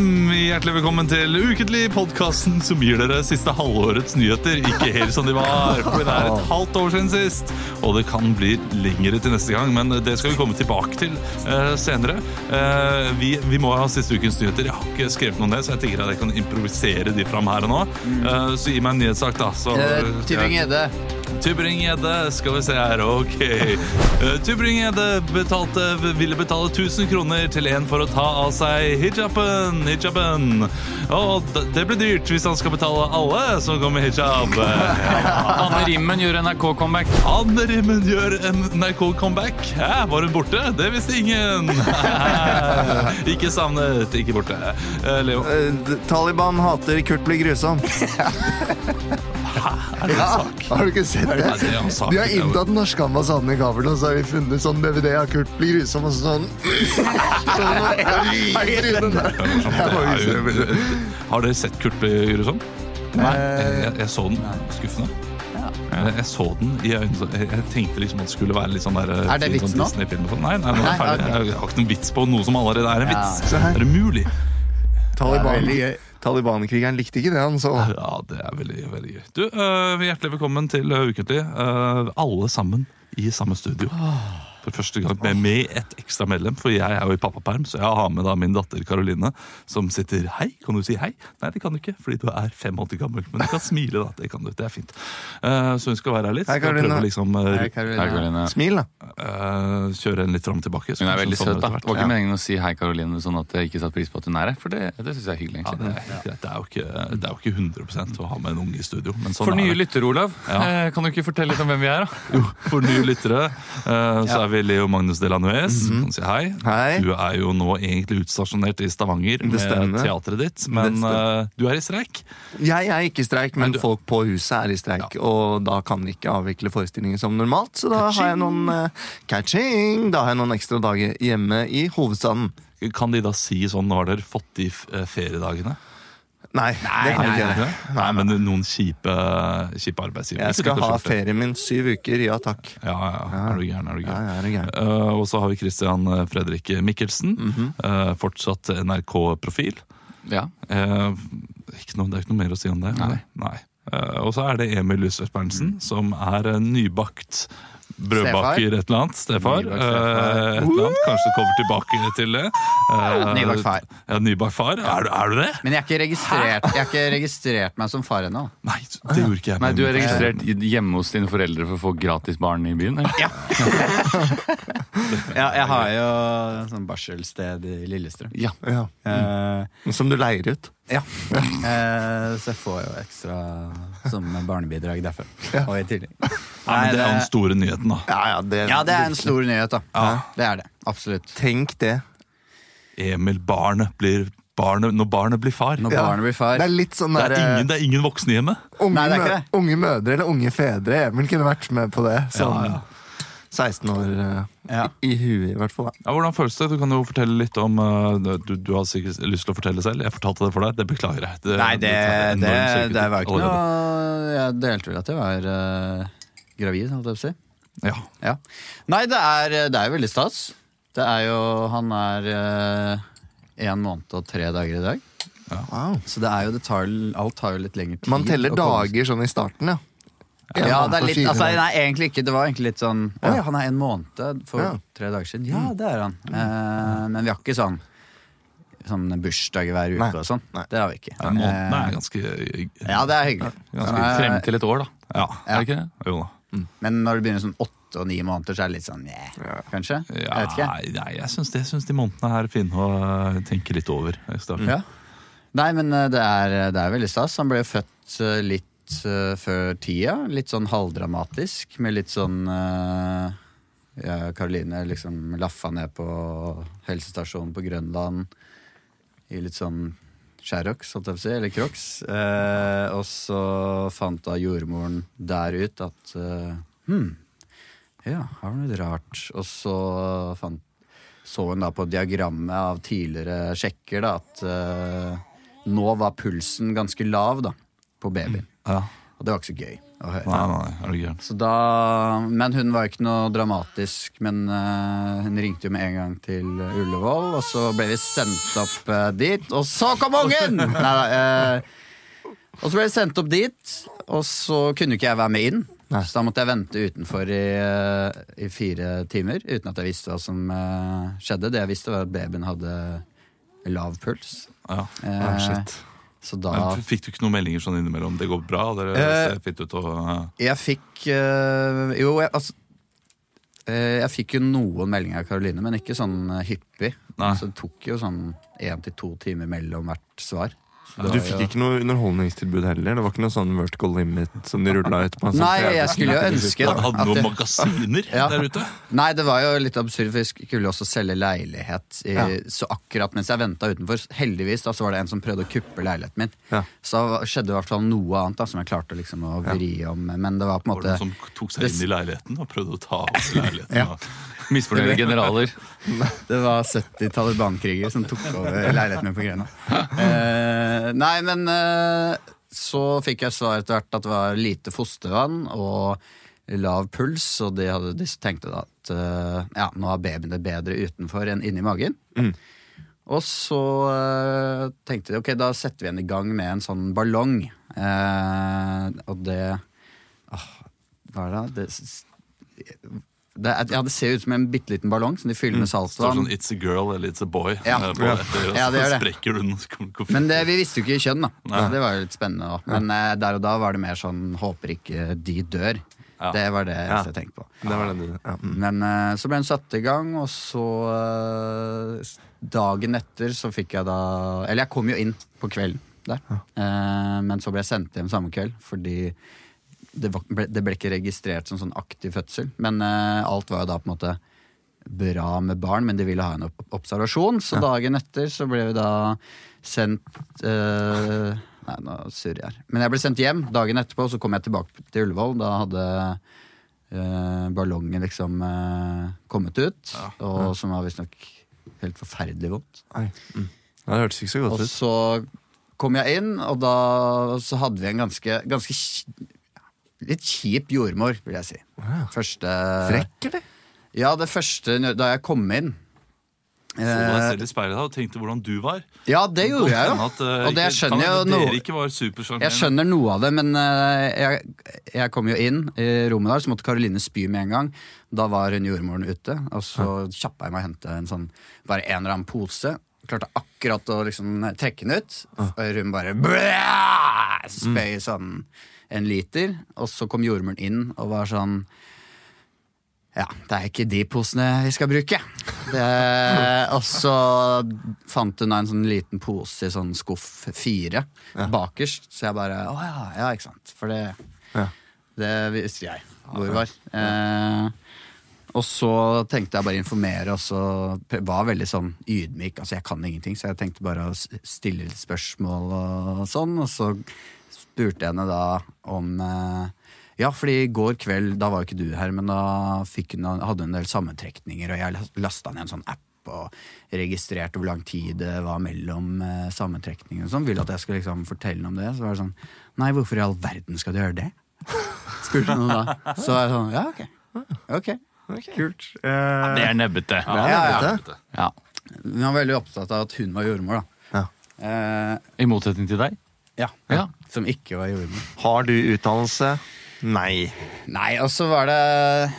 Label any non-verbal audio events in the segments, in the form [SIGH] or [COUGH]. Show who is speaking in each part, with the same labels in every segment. Speaker 1: hjertelig velkommen til Ukentlig, podkasten som gir dere siste halvårets nyheter. Ikke helt som de var, for det er et halvt år siden sist. Og det kan bli lengre til neste gang, men det skal vi komme tilbake til eh, senere. Eh, vi, vi må ha siste ukens nyheter. Jeg har ikke skrevet noe ned, så jeg tenker at jeg kan improvisere de fram her og nå. Eh, så gi meg en nyhetssak, da. Så,
Speaker 2: Eh, Tybring-Gjedde.
Speaker 1: Tybring-Gjedde, skal vi se her, ok. Eh, Tybring-Gjedde betalte- ville betale 1000 kroner til en for å ta av seg hijaben, hijaben. Og d- det blir dyrt hvis han skal betale alle som går med hijab.
Speaker 3: [LAUGHS] Anne Rimmen gjorde NRK-comeback.
Speaker 1: Anne Rimmen gjør en NRK-comeback. Hæ, var hun borte? Det visste ingen.
Speaker 3: [LAUGHS]
Speaker 1: ikke savnet, ikke borte. Eh, Leo,
Speaker 2: Eh, d- Taliban hater Kurt blir [LAUGHS] grusom.
Speaker 1: er det en sak?
Speaker 4: Har du ikke sett det?
Speaker 1: Nei, det er en sak.
Speaker 4: De har inntatt den norske ambassaden i Kabul, og så har vi funnet sånn DVD av Kurt blir grusom, og så
Speaker 2: [LAUGHS]
Speaker 4: sånn
Speaker 1: Det er morsomt. Det er jo- Har dere sett Kurt bli grusom? Jeg, jeg, jeg så den. Skuffende. Jeg, jeg så den i øynene. Jeg, jeg tenkte liksom at det skulle være litt sånn der
Speaker 4: Er det
Speaker 1: fin
Speaker 4: vits
Speaker 1: sånn
Speaker 4: nå?
Speaker 1: Disney-film og sånn. Nei, nei, nå er jeg
Speaker 4: Nei,
Speaker 1: ferdig.
Speaker 4: ok.
Speaker 1: Jeg har ikke noen vits på noe som allerede er en vits.
Speaker 4: se her.
Speaker 1: Er det mulig?
Speaker 4: Taliban,
Speaker 2: Det
Speaker 4: ja,
Speaker 2: Taliban-krigeren likte ikke det han så.
Speaker 1: Ja, det er veldig, veldig gøy. Du, øh, hjertelig velkommen til øh, Ukentlig. Øh, alle sammen i samme studio. For første gang med, med et ekstra medlem, for jeg er jo i pappaperm, så jeg har med da min datter Karoline, som sitter Hei, kan du si hei? Nei, det kan du ikke, fordi du er 85 gammel. Men du kan smile, da. Det kan du, det er fint. Eh, så hun skal være her litt.
Speaker 2: Hei,
Speaker 1: Skal
Speaker 2: Karoline.
Speaker 1: prøve liksom, øh,
Speaker 4: Hei, Karoline.
Speaker 3: Hei, Karoline.
Speaker 2: Smil, da.
Speaker 1: øh, kjøre en litt fram og tilbake. så
Speaker 3: Hun er
Speaker 1: kanskje
Speaker 3: veldig
Speaker 1: sånn
Speaker 3: søt, da.
Speaker 1: etter hvert.
Speaker 3: Det var ikke
Speaker 1: Ja.
Speaker 3: meningen å si hei, Karoline, sånn at jeg ikke satte pris på at hun er her. For det, det syns jeg er hyggelig,
Speaker 1: Ja, det,
Speaker 3: egentlig.
Speaker 1: er helt greit. det, er jo ikke, det er jo ikke 100 å ha med en unge i studio. Men sånn er
Speaker 3: For nye
Speaker 1: det.
Speaker 3: lyttere, Olav,
Speaker 1: Ja.
Speaker 3: eh, kan du ikke fortelle litt om hvem vi er? da?
Speaker 1: Jo, for nye lyttere eh, så er vi Leo Magnus Delanues. Kan si hei.
Speaker 2: Mhm. Hei.
Speaker 1: Du er jo nå egentlig utstasjonert i Stavanger med
Speaker 2: stemmer.
Speaker 1: teatret ditt, men eh, du er i streik.
Speaker 2: Jeg er ikke i streik, men
Speaker 1: Nei, du-
Speaker 2: folk på huset er i streik. Og da kan vi ikke avvikle forestillinger som normalt, så da har jeg noen eh, catching! Da har jeg noen ekstra dager hjemme i hovedstaden.
Speaker 1: Kan de da si sånn Nå har dere fått de eh, feriedagene?
Speaker 2: Nei, det kan vi ikke
Speaker 1: Ikke
Speaker 2: gjøre.
Speaker 1: det? Nei, men noen kjipe, kjipe arbeidsgivere.
Speaker 2: Jeg skal
Speaker 1: Ikke
Speaker 2: ha
Speaker 1: skjorte.
Speaker 2: ferien min syv uker, ja takk.
Speaker 1: Ja, ja, ja. Er du gæren, er du
Speaker 2: Ja,
Speaker 1: gæren.
Speaker 2: jeg er jo gæren.
Speaker 1: Eh, og så har vi Christian eh, Fredrik Mikkelsen.
Speaker 2: Mhm.
Speaker 1: eh, fortsatt NRK-profil.
Speaker 3: Ja.
Speaker 1: Eh, ikke noe, det er ikke noe mer å si om det.
Speaker 3: Nei.
Speaker 1: Nei. Eh, og så er det Emil Lysøs Berntsen, som er en nybakt brødbaker, et eller annet. Stefar.
Speaker 3: Nybakt stefar.
Speaker 1: Eh, et eller annet. Kanskje kommer tilbake til det. Eh,
Speaker 5: Nybakt far.
Speaker 1: Ja, nybakt far. Er, du- er du det?
Speaker 5: Men jeg har ikke registrert, jeg har ikke registrert meg som far ennå.
Speaker 1: Nei, det gjorde ikke jeg.
Speaker 3: Nei,
Speaker 1: men-
Speaker 3: du er registrert hjemme hos dine foreldre for å få gratis barn i byen? eller?
Speaker 5: Jeg, har jo sånn barselsted i Lillestrøm.
Speaker 3: Ja.
Speaker 2: Ja. Som du leier ut.
Speaker 5: ja. eh, så jeg får jo ekstra som barnebidrag derfra. Og i tillegg.
Speaker 1: Nei, men det er jo den
Speaker 5: det,
Speaker 1: store nyheten, da.
Speaker 2: Ja, ja, det,
Speaker 5: ja, det er en stor nyhet, da. Det er det. Absolutt.
Speaker 2: Tenk det.
Speaker 1: Emil, barnet blir barnet når barnet blir far.
Speaker 5: Når
Speaker 4: Ja.
Speaker 5: barnet blir
Speaker 4: Det
Speaker 5: far.
Speaker 4: er litt sånn
Speaker 1: Det
Speaker 4: der
Speaker 1: er ingen, det er ingen voksne hjemme.
Speaker 4: eh, unge,
Speaker 5: Nei, det er
Speaker 4: mø
Speaker 5: ikke det.
Speaker 4: unge mødre eller unge fedre. Emil kunne vært med på det.
Speaker 1: Ja,
Speaker 4: Sånn.
Speaker 1: ja.
Speaker 2: 16 år eh,
Speaker 5: Ja.
Speaker 2: i, i huet, i hvert fall. Da.
Speaker 1: Ja, hvordan føles det? Du kan jo fortelle litt om eh, du, du har sikkert lyst til å fortelle selv. Jeg fortalte det for deg. Det beklager jeg. Det-
Speaker 5: Nei, det,
Speaker 1: tar enormt
Speaker 5: det,
Speaker 1: selvkritikk
Speaker 5: det var ikke
Speaker 1: allerede.
Speaker 5: noe Jeg delte vel at jeg var eh, gravid, holdt jeg på å si.
Speaker 1: Ja.
Speaker 5: Ja. Nei, det er, eh, det er jo veldig stas. Det er jo Han er én måned og tre dager i dag.
Speaker 2: Wow.
Speaker 5: Så det er jo, det tar, alt tar jo litt lengre tid.
Speaker 2: Man teller
Speaker 5: å komme-
Speaker 2: dager sånn i starten, ja. En
Speaker 5: Ja,
Speaker 4: måned
Speaker 5: det er
Speaker 4: og
Speaker 5: litt,
Speaker 4: fire
Speaker 5: altså,
Speaker 4: dager.
Speaker 5: nei, egentlig ikke. Det var egentlig litt sånn Å ja, han er en måned for
Speaker 4: Ja.
Speaker 5: tre dager siden. Ja, det er han.
Speaker 2: Mm.
Speaker 5: Eh, men vi har ikke sånn Sånn bursdag hver uke
Speaker 2: Nei,
Speaker 5: og sånn.
Speaker 2: nei.
Speaker 5: Det har vi ikke.
Speaker 1: Ja, Måneden
Speaker 5: Eh,
Speaker 1: er ganske
Speaker 5: ja, det er hyggelig.
Speaker 1: Ganske
Speaker 5: Men, eh,
Speaker 3: Frem til et år, da.
Speaker 1: Ja.
Speaker 3: Er det ikke det?
Speaker 1: Jo da.
Speaker 5: Men når det begynner sånn åtte og ni måneder, så er det litt sånn yeah, kanskje?
Speaker 1: Ja,
Speaker 5: jeg vet ikke.
Speaker 1: Nei, nei, jeg syns, det, jeg syns de månedene her er fine å øh, tenke litt over. i starten.
Speaker 5: Ja. Nei, men eh, det er, det er veldig stas. Han ble jo født eh, litt eh, før tida. Litt sånn halvdramatisk, med litt sånn eh, ja, Karoline liksom laffa ned på helsestasjonen på Grønland i litt sånn Sherrox, holdt jeg på å si, eller Crocs. Eh, og så fant da jordmoren der ut at eh, Hm, ja, her var det litt rart. Og så fant, så hun da på diagrammet av tidligere sjekker da, at eh, nå var pulsen ganske lav da, på babyen.
Speaker 1: Ja.
Speaker 5: Og det var ikke så gøy. å høre.
Speaker 1: Nei, nei, nei, er du gæren.
Speaker 5: Så da, men hun var ikke noe dramatisk, men eh, hun ringte jo med en gang til eh, Ullevål, og så ble vi sendt opp eh, dit, og så kom ungen! Nei, nei, eh, og så ble vi sendt opp dit, og så kunne ikke jeg være med inn.
Speaker 2: Nei.
Speaker 5: Så da måtte jeg vente utenfor i, eh, i fire timer, uten at jeg visste hva som eh, skjedde. Det jeg visste, var at babyen hadde lav puls.
Speaker 1: Ja.
Speaker 5: Eh, så da
Speaker 1: Men Fikk du ikke noen meldinger sånn innimellom? Det går bra? Dere
Speaker 5: Eh.
Speaker 1: ser fint ut og eh,
Speaker 5: Jeg fikk øh, Jo, jeg, altså øh, Jeg fikk jo noen meldinger av Karoline, men ikke sånn øh, hyppig.
Speaker 1: Nei.
Speaker 5: Så det tok jo sånn én til to timer mellom hvert svar. Så det
Speaker 2: Du
Speaker 5: var jo-
Speaker 2: fikk ikke noe underholdningstilbud heller? Det var ikke noe sånn vertical limit som de rulla ut? på en sånn
Speaker 5: Nei,
Speaker 2: TV?
Speaker 5: jeg skulle jo ønske da,
Speaker 1: Hadde hadde
Speaker 2: sånn
Speaker 5: at
Speaker 1: noen
Speaker 5: det,
Speaker 1: magasiner
Speaker 5: Ja.
Speaker 1: der ute?
Speaker 5: Nei, det var jo litt absurd, for jeg skulle jo også selge leilighet. I, Så akkurat mens jeg venta utenfor, heldigvis da, så var det en som prøvde å kuppe leiligheten min.
Speaker 2: Ja.
Speaker 5: Så skjedde i hvert fall noe annet da, som jeg klarte liksom å vri om. Men det var på en
Speaker 1: Var det
Speaker 5: måte
Speaker 1: noen som tok seg inn i leiligheten og prøvde å ta over leiligheten?
Speaker 5: Ja.
Speaker 1: og-
Speaker 3: Misfornøyde generaler.
Speaker 5: Det var 70 Taliban-kriger som tok over leiligheten min på Grønland. Eh, nei, men eh, så fikk jeg svar etter hvert at det var lite fostervann og lav puls, og de, hadde, de tenkte da at eh, ja, nå har babyen det bedre utenfor enn inni magen. Og så eh, tenkte de ok, da setter vi henne i gang med en sånn ballong. Eh, og det åh, Hva er det? Det, det, er- ja, det ser jo ut som en bitte liten ballong som de fyller med
Speaker 1: Så var det
Speaker 5: saltvann.
Speaker 1: sånn It's a girl eller It's a boy.
Speaker 5: Ja.
Speaker 1: eh, på
Speaker 5: Ja.
Speaker 1: etter, og
Speaker 5: Ja, det
Speaker 1: så
Speaker 5: gjør det.
Speaker 1: Sprekker du den, så kommer det
Speaker 5: Men
Speaker 1: konfetti.
Speaker 5: det, vi visste jo ikke kjønn, da. Så det var jo litt spennende. også. Men eh, der og da var det mer sånn 'håper ikke de dør'.
Speaker 1: Ja.
Speaker 5: Det var det
Speaker 2: Ja.
Speaker 5: eneste jeg tenkte på.
Speaker 2: Det var det du ja. mm.
Speaker 5: Men eh, så ble hun satt i gang, og så eh, s- Dagen etter så fikk jeg da Eller jeg kom jo inn på kvelden der. Eh, men så ble jeg sendt hjem samme kveld fordi det, var, ble, det ble ikke registrert som sånn aktiv fødsel. Men eh, alt var jo da på en måte bra med barn, men de ville ha en opp- observasjon. Så dagen etter så ble vi da sendt eh, Nei, nå surrer jeg her. Men jeg ble sendt hjem dagen etterpå, så kom jeg tilbake til Ullevål. Da hadde eh, ballongen liksom eh, kommet ut, og som var visstnok helt forferdelig vondt.
Speaker 2: Nei. Mm. Ja, Det hørtes ikke så
Speaker 5: Og
Speaker 2: godt ut.
Speaker 5: så kom jeg inn, og da så hadde vi en ganske, ganske kj- litt kjip jordmor, vil jeg si. Første
Speaker 2: Frekk, eller?
Speaker 5: Ja, det første da jeg kom inn.
Speaker 1: Så du deg
Speaker 5: Eh,
Speaker 1: selv i speilet da, og tenkte hvordan du var.
Speaker 5: ja, det gjorde jeg jo.
Speaker 1: Kan hende at, eh,
Speaker 5: Og det
Speaker 1: ikke-
Speaker 5: skjønner
Speaker 1: kan
Speaker 5: jeg jo
Speaker 1: hende
Speaker 5: noe-
Speaker 1: Dere ikke var supersjarmerende.
Speaker 5: Jeg skjønner noe av det, men eh, jeg, jeg kom jo inn i rommet der, så måtte Karoline spy med en gang. Da var hun jordmoren ute, og så kjappa jeg meg å hente en sånn, bare en eller annen pose. Klarte akkurat å liksom trekke den ut, og hun bare blæh, spøy sånn en liter. Og så kom jordmoren inn og var sånn ja, det er ikke de posene vi skal bruke. Det, og så fant hun da en sånn liten pose i sånn skuff fire bakerst, så jeg bare Å ja, ja, ikke sant. For det,
Speaker 2: Ja.
Speaker 5: det visste jeg hvor det var. Eh, og så tenkte jeg bare informere, og så pre- var veldig sånn ydmyk. Altså, jeg kan ingenting, så jeg tenkte bare å s- stille litt spørsmål og sånn. Og så spurte jeg henne da om eh, Ja, fordi i går kveld, da var jo ikke du her, men da fikk hun, hadde hun en del sammentrekninger, og jeg lasta ned en sånn app. Og registrerte hvor lang tid det var mellom eh, sammentrekningene. og Sånn. Ville at jeg skulle liksom fortelle om det. Så var det sånn Nei, hvorfor i all verden skal du gjøre det? Spurte hun da. Så var jeg sånn Ja, ok. ok.
Speaker 2: Kult. Eh,
Speaker 3: Det er nebbete.
Speaker 1: Ja,
Speaker 5: Ja, ja.
Speaker 1: vet du.
Speaker 3: Ja.
Speaker 5: Hun var veldig opptatt av at hun var jordmor, da.
Speaker 2: Ja.
Speaker 5: Eh,
Speaker 3: I motsetning til deg.
Speaker 5: ja.
Speaker 3: Ja.
Speaker 5: Som ikke var jordmor.
Speaker 2: Har du utdannelse? Nei.
Speaker 5: Nei, og så var det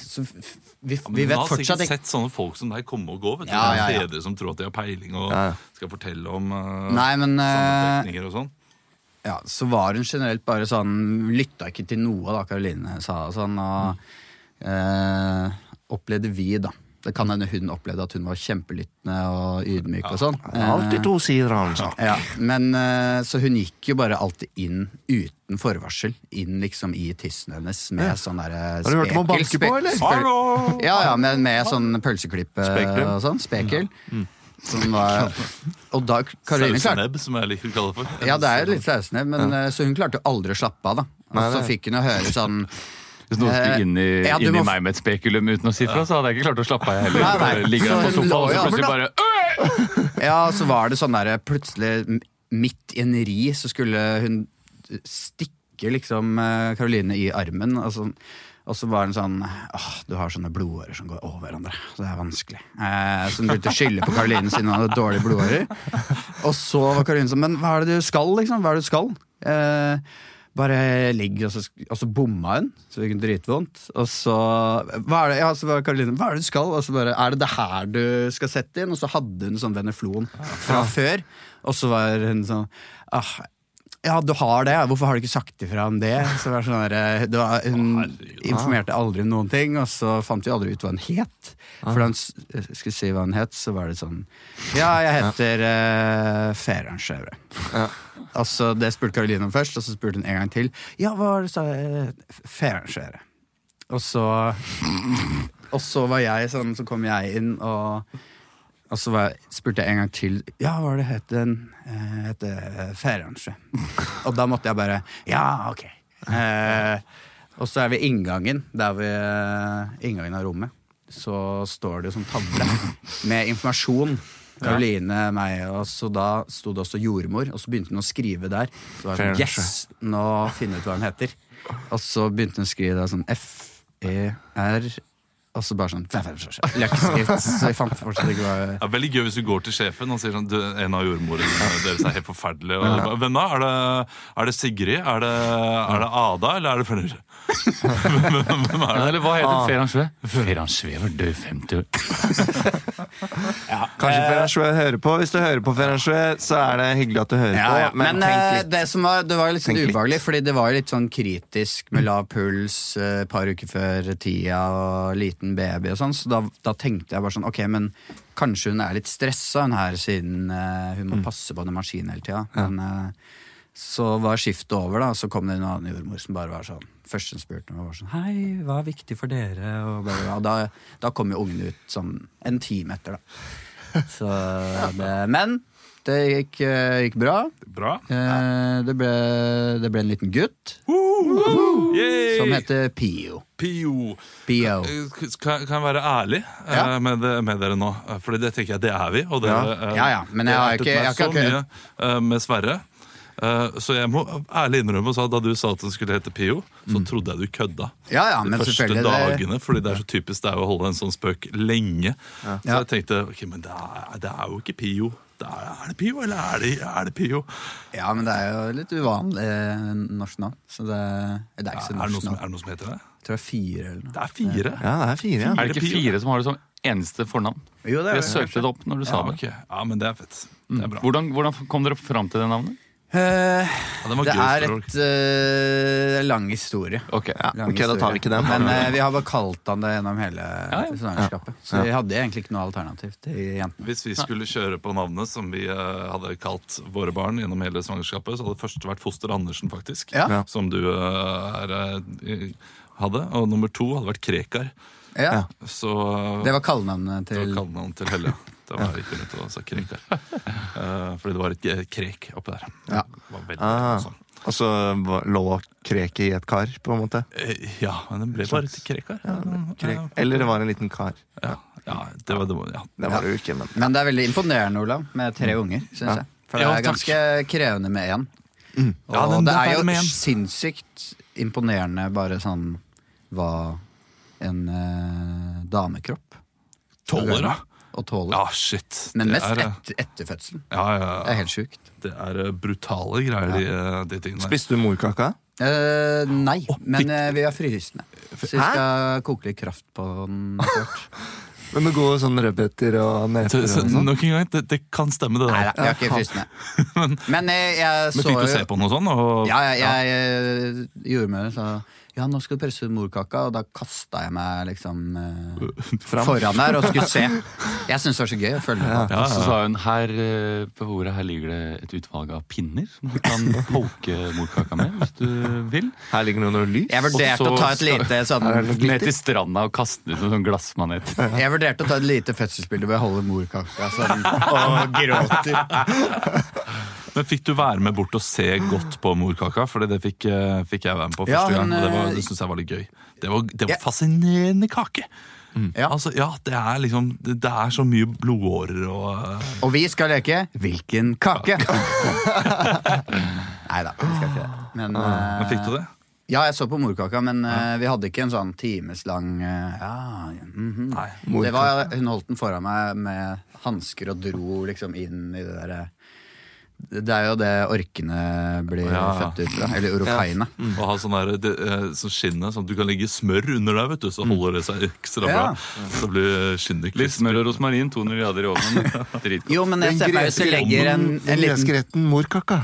Speaker 5: så, f- f- vi, vi
Speaker 1: Men
Speaker 5: vet
Speaker 1: man har
Speaker 5: fortsatt
Speaker 1: sikkert
Speaker 5: ikke
Speaker 1: sett sånne folk som deg komme og gå. vet du.
Speaker 5: Ja, ja, ja.
Speaker 1: Fedre som tror at de har peiling og
Speaker 2: Ja, ja.
Speaker 1: skal fortelle om uh,
Speaker 5: Nei, men, eh,
Speaker 1: sammentrekninger og sånn.
Speaker 5: ja, Så var hun generelt bare sånn Lytta ikke til noe da Karoline sa og sånn. Og eh, opplevde vi, da. Det kan hende hun opplevde at hun var kjempelyttende og ydmyk og sånn.
Speaker 2: Alltid to sider altså. av en sak.
Speaker 5: Ja, men eh, Så hun gikk jo bare alltid inn uten forvarsel. Inn liksom i tissen hennes med sånn derre
Speaker 2: Har du hørt om å banke på, eller?
Speaker 1: Hallo!
Speaker 5: Ja, ja, med, med sånn pølseklippe
Speaker 2: Spekel.
Speaker 5: og sånn. Spekel. Som var Og da Karoline klarte
Speaker 1: Sausenebb, som jeg liker å kalle det for.
Speaker 5: Ja, det er jo litt sausende, men eh, så hun klarte jo aldri å slappe av, da. Og så fikk hun å høre sånn
Speaker 3: Hvis noen
Speaker 5: Eh,
Speaker 3: skulle inn i,
Speaker 5: ja, du
Speaker 3: inn i
Speaker 5: må-
Speaker 3: meg med et spekulum uten å si fra, så hadde jeg ikke klart å slappe av, jeg heller.
Speaker 5: Nei, nei.
Speaker 3: Bare Ligger der på
Speaker 5: Så hun
Speaker 3: sofaen, og
Speaker 5: lå
Speaker 3: så
Speaker 5: jo-
Speaker 3: plutselig bare «Øh!»
Speaker 5: [LAUGHS] Ja, så var det sånn der plutselig m- midt i en ri så skulle hun stikke stikker liksom eh, Karoline i armen. Og så, og så var hun sånn Åh, du har sånne blodårer som går over hverandre. Så det er vanskelig. Eh, så hun begynte å skylde på Karoline siden hun hadde dårlige blodårer. Og så var Karoline sånn Men hva er det du skal, liksom? Hva er det du skal? Eh, bare ligg, og så, og så bomma hun, så det gikk dritvondt. Og så hva er det, ja, så var Karoline Hva er det du skal? Og så bare Er det det her du skal sette inn? Og så hadde hun sånn veneflon fra før. Og så var hun sånn ah, Ja, du har det, ja. hvorfor har du ikke sagt ifra om det? Så var det sånn der, det var, Hun informerte aldri om noen ting, og så fant vi aldri ut hva hun het. For da hun s- eh, skulle si hva hun het, så var det sånn Ja, jeg heter uh, Ferhan Skjævre. Altså, det spurte Karoline om først, og så spurte hun en gang til. Ja, hva var det du sa? Fernsjere. Og så Og så var jeg sånn, så kom jeg inn, og, og så var, jeg- spurte jeg en gang til. Ja, hva var det het den? Eh, Het eh, Fernsjø. Og da måtte jeg bare Ja, ok. Eh, og så er vi i inngangen, der vi eh, inngangen av rommet. Så står det jo sånn tavle med informasjon. Karoline, meg, og så da sto det også jordmor, og så begynte hun å skrive der. Så var det sånn,
Speaker 2: Fernsjø.
Speaker 5: yes! nå finne ut hva hun heter. Og så begynte hun å skrive da sånn F-E-R, og så bare sånn Løkkeskrift. Så jeg fant fortsatt ikke hva
Speaker 1: Det er veldig gøy hvis du går til sjefen og sier sånn, du, en av jordmorene deres er helt forferdelig. Og, du bare, Hvem da? Er det, er det Sigrid? Er det, er det Ada? Eller er det Følger?
Speaker 3: Ja, eller hva heter Ferhan Sve? Ferhan Sve var død i 50 år.
Speaker 2: Kanskje Ferransjø hører på. Hvis du hører på Ferransjø, så er det hyggelig at du hører
Speaker 5: Ja, ja.
Speaker 2: på.
Speaker 5: Men,
Speaker 2: Men, tenk
Speaker 5: eh,
Speaker 2: litt.
Speaker 5: det som var, det var jo litt sånn
Speaker 2: Tenk litt.
Speaker 5: ubehagelig, fordi det var jo litt sånn kritisk med lav puls eh, et par uker før tida og liten baby og sånn, så da, da tenkte jeg bare sånn ok, men kanskje hun er litt stressa hun her, siden eh, hun må passe på den maskinen hele tida. Men eh, så var skiftet over, da, og så kom det en annen jordmor som bare var sånn Først hun spurte meg, var sånn Hei, hva er viktig for dere? Og bla, bla, bla. Og Da, da kom jo ungen ut sånn en time etter, da. Så det, men det gikk, eh, gikk bra.
Speaker 1: Bra.
Speaker 5: Eh, det, ble, det ble en liten gutt
Speaker 1: Yay!
Speaker 5: som heter Pio.
Speaker 1: Pio.
Speaker 5: Pio.
Speaker 1: Eh, Kan, kan jeg være ærlig eh,
Speaker 5: Ja.
Speaker 1: med, det, med dere nå? For det tenker jeg det er vi. Og det, eh,
Speaker 5: Ja, ja, men jeg
Speaker 1: det
Speaker 5: har
Speaker 1: ertet
Speaker 5: ikke- jeg
Speaker 1: meg
Speaker 5: har ikke-
Speaker 1: så mye eh, med Sverre. Eh, Så jeg må ærlig innrømme at da du sa at den skulle hete Pio, så
Speaker 5: Mm.
Speaker 1: trodde jeg du kødda.
Speaker 5: Ja, ja,
Speaker 1: de
Speaker 5: men
Speaker 1: første
Speaker 5: selvfølgelig. Det,
Speaker 1: dagene, fordi det er så typisk det er jo å holde en sånn spøk lenge. Så
Speaker 5: Ja.
Speaker 1: jeg tenkte ok, men det er, det er jo ikke Pio. Det er, er det Pio, eller er det, er det Pio?
Speaker 5: ja, men det er jo litt uvanlig eh, norsk navn. Så det, det er ikke så
Speaker 1: Er det, noe
Speaker 5: norsk
Speaker 1: som,
Speaker 5: navn.
Speaker 1: er det noe som heter det?
Speaker 5: Jeg tror det er fire eller noe.
Speaker 1: Det er fire.
Speaker 2: Ja, det er fire, ja.
Speaker 3: Er det ikke fire som har det som eneste fornavn?
Speaker 5: Jo, det
Speaker 3: Jeg søkte det opp når du
Speaker 1: Ja,
Speaker 3: sa det.
Speaker 1: ok. ja, men det er fett. Det
Speaker 5: Mm.
Speaker 1: er bra.
Speaker 3: Hvordan, hvordan kom dere fram til det navnet?
Speaker 5: Eh,
Speaker 1: Ja, den var
Speaker 5: det
Speaker 1: gøy,
Speaker 5: er
Speaker 1: Stororg.
Speaker 5: et eh, lang historie.
Speaker 3: Ok,
Speaker 5: Lang
Speaker 2: ok, da tar vi ikke den.
Speaker 5: Men eh, vi har bare kalt han det gjennom hele
Speaker 3: Ja, ja.
Speaker 5: svangerskapet. Så vi hadde egentlig ikke noe alternativ til jentene.
Speaker 1: Hvis vi skulle kjøre på navnet som vi eh, hadde kalt våre barn gjennom hele svangerskapet, så hadde det først vært Foster Andersen, faktisk.
Speaker 5: Ja. Ja.
Speaker 1: Som du eh, er, eh, hadde. Og nummer to hadde vært Krekar.
Speaker 5: Ja.
Speaker 1: Så
Speaker 5: Det var kallenavnet
Speaker 1: det var
Speaker 5: til
Speaker 1: kallenavnet til Helle. Da var jeg ikke nødt til å si Krekar. Eh, fordi det var et eh, krek oppi der.
Speaker 5: Ja.
Speaker 1: Det var veldig
Speaker 2: Ah.
Speaker 1: sånn.
Speaker 2: Og så var- lå kreket i et kar, på en måte.
Speaker 1: Eh, Ja, men den ble bare til Krekar. Ja,
Speaker 2: Krek. Eller det var en liten kar.
Speaker 1: ja, ja, det var, det var, ja.
Speaker 2: Det var det jo ikke, men
Speaker 5: Men det er veldig imponerende, Olav, med tre unger, syns jeg. For det
Speaker 1: Mm. Ja,
Speaker 5: er
Speaker 1: takk.
Speaker 5: ganske krevende med én. Og
Speaker 1: Ja, den-
Speaker 5: det
Speaker 1: den
Speaker 5: er
Speaker 1: er
Speaker 5: jo
Speaker 1: med en.
Speaker 5: sinnssykt imponerende bare sånn hva en eh, damekropp
Speaker 1: Tolver, da?
Speaker 5: og tåler.
Speaker 1: Ja, shit.
Speaker 5: Men
Speaker 1: Det
Speaker 5: mest
Speaker 1: er, eh,
Speaker 5: etter, etter fødselen.
Speaker 1: ja, ja, ja.
Speaker 5: Det er helt sjukt.
Speaker 1: Det er eh, brutale greier, de, de tingene. der.
Speaker 2: Spiste du morkaka?
Speaker 5: Eh, nei,
Speaker 1: Å,
Speaker 5: men
Speaker 1: fikk-
Speaker 5: eh, vi har frysende. Så vi skal koke litt kraft på
Speaker 1: [LAUGHS]
Speaker 5: den. etter hvert.
Speaker 2: Men det går sånn rødbeter og
Speaker 1: Så,
Speaker 2: neter og
Speaker 1: så,
Speaker 2: sånn?
Speaker 1: nok en gang, det, det kan stemme, det
Speaker 5: Nei,
Speaker 1: der.
Speaker 5: da, vi har ikke
Speaker 1: [LAUGHS]
Speaker 5: frysende. Men eh, jeg
Speaker 1: Men
Speaker 5: så
Speaker 1: fikk du
Speaker 5: jo
Speaker 1: se på noe sånn? Og,
Speaker 5: Ja, jeg, jeg, eh, gjorde med det. Så, ja, nå skal du presse ut morkaka, og da kasta jeg meg liksom eh, foran der og skulle se. Jeg syntes det var så gøy å følge med. på.
Speaker 3: Og så sa hun her eh, på bordet her ligger det et utvalg av pinner som du kan poke morkaka med hvis du vil.
Speaker 2: Her ligger det noe lys.
Speaker 5: Jeg vurderte
Speaker 3: Og så
Speaker 5: å ta et
Speaker 3: skal-
Speaker 5: lite sånn
Speaker 2: Her er det
Speaker 3: Ned til stranda og kaste ut en sånn glassmanet.
Speaker 5: [LAUGHS] jeg vurderte å ta et lite fødselsbilde hvor jeg holder morkaka sånn, og gråter.
Speaker 1: Men fikk du være med bort og se godt på morkaka? For det fikk, eh, fikk jeg være med på første
Speaker 5: Ja,
Speaker 1: gang,
Speaker 5: hun,
Speaker 1: og det, var-
Speaker 5: eh,
Speaker 1: det syns jeg var litt gøy. Det var, det
Speaker 5: Ja. Mm.
Speaker 1: var fascinerende kake!
Speaker 5: Ja.
Speaker 1: Altså, ja, det er liksom Det, det er så mye blodårer og eh,
Speaker 5: Og vi skal leke Hvilken kake? Nei, Nei da, vi skal ikke det. Men, eh,
Speaker 1: Men fikk du det?
Speaker 5: Ja, jeg så på Morkaka, men eh, vi hadde ikke en sånn timeslang eh, ja, mhm.
Speaker 2: Morkaka.
Speaker 5: Det var, Hun holdt den foran meg med hansker og dro liksom inn i det derre Det er jo det orkene blir
Speaker 1: Ja.
Speaker 5: født ut fra. Eller orokaine.
Speaker 1: Å ha sånn der, det, eh, sånn skinne sånn at du kan legge smør under der, vet du, så holder det seg ekstra bra.
Speaker 5: Mm. Ja.
Speaker 1: Så blir skinnet
Speaker 3: Litt
Speaker 1: krispig.
Speaker 3: smør og rosmarin, 200 grader i ovnen. Dritgodt.
Speaker 5: Jo, men jeg
Speaker 2: Den
Speaker 5: ser for meg hvis du
Speaker 2: greske
Speaker 5: legger en, en
Speaker 2: Den
Speaker 5: liten
Speaker 2: greske retten
Speaker 5: [LAUGHS]
Speaker 2: morkaka.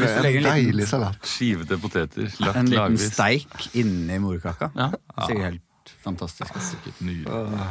Speaker 2: Det
Speaker 5: legger
Speaker 2: er en
Speaker 5: en liten-
Speaker 2: deilig salat.
Speaker 3: Skivete poteter
Speaker 5: En
Speaker 3: lagt
Speaker 5: liten
Speaker 3: lagvis.
Speaker 5: steik inni morkaka.
Speaker 3: Ja.
Speaker 5: Det ser jo helt fantastisk ut.
Speaker 1: Nydelig.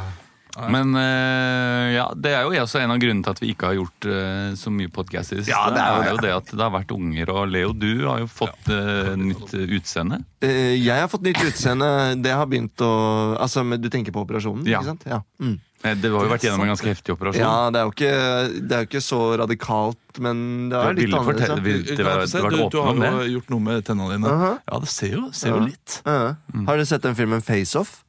Speaker 3: Men eh, ja, det er jo også en av grunnene til at vi ikke har gjort eh, så mye podkast i det siste.
Speaker 1: Ja, det er jo
Speaker 3: jo det at det har vært unger, og Leo, du har jo fått eh, nytt eh, utseende.
Speaker 2: Eh, Jeg har fått nytt utseende. Det har begynt å Altså, men Du tenker på operasjonen?
Speaker 3: Ja.
Speaker 2: ikke sant? Ja. Mm.
Speaker 3: Eh, Det har jo vært gjennom en ganske heftig operasjon.
Speaker 2: ja, det er jo ikke, det er jo ikke så radikalt, men det
Speaker 3: Du
Speaker 2: er litt
Speaker 3: ville
Speaker 2: annerledes.
Speaker 3: fortelle-
Speaker 2: ja.
Speaker 3: vil- det
Speaker 1: Ja,
Speaker 3: var-
Speaker 1: du ser,
Speaker 3: du var
Speaker 1: du, du
Speaker 3: åpen
Speaker 1: har
Speaker 3: om
Speaker 1: jo
Speaker 3: det.
Speaker 1: gjort noe med tennene dine.
Speaker 5: Uh-huh.
Speaker 2: Aha.
Speaker 1: Ja, det ser jo, ser jo
Speaker 2: Ja.
Speaker 1: litt.
Speaker 2: Ja. Har dere sett den filmen Face Off?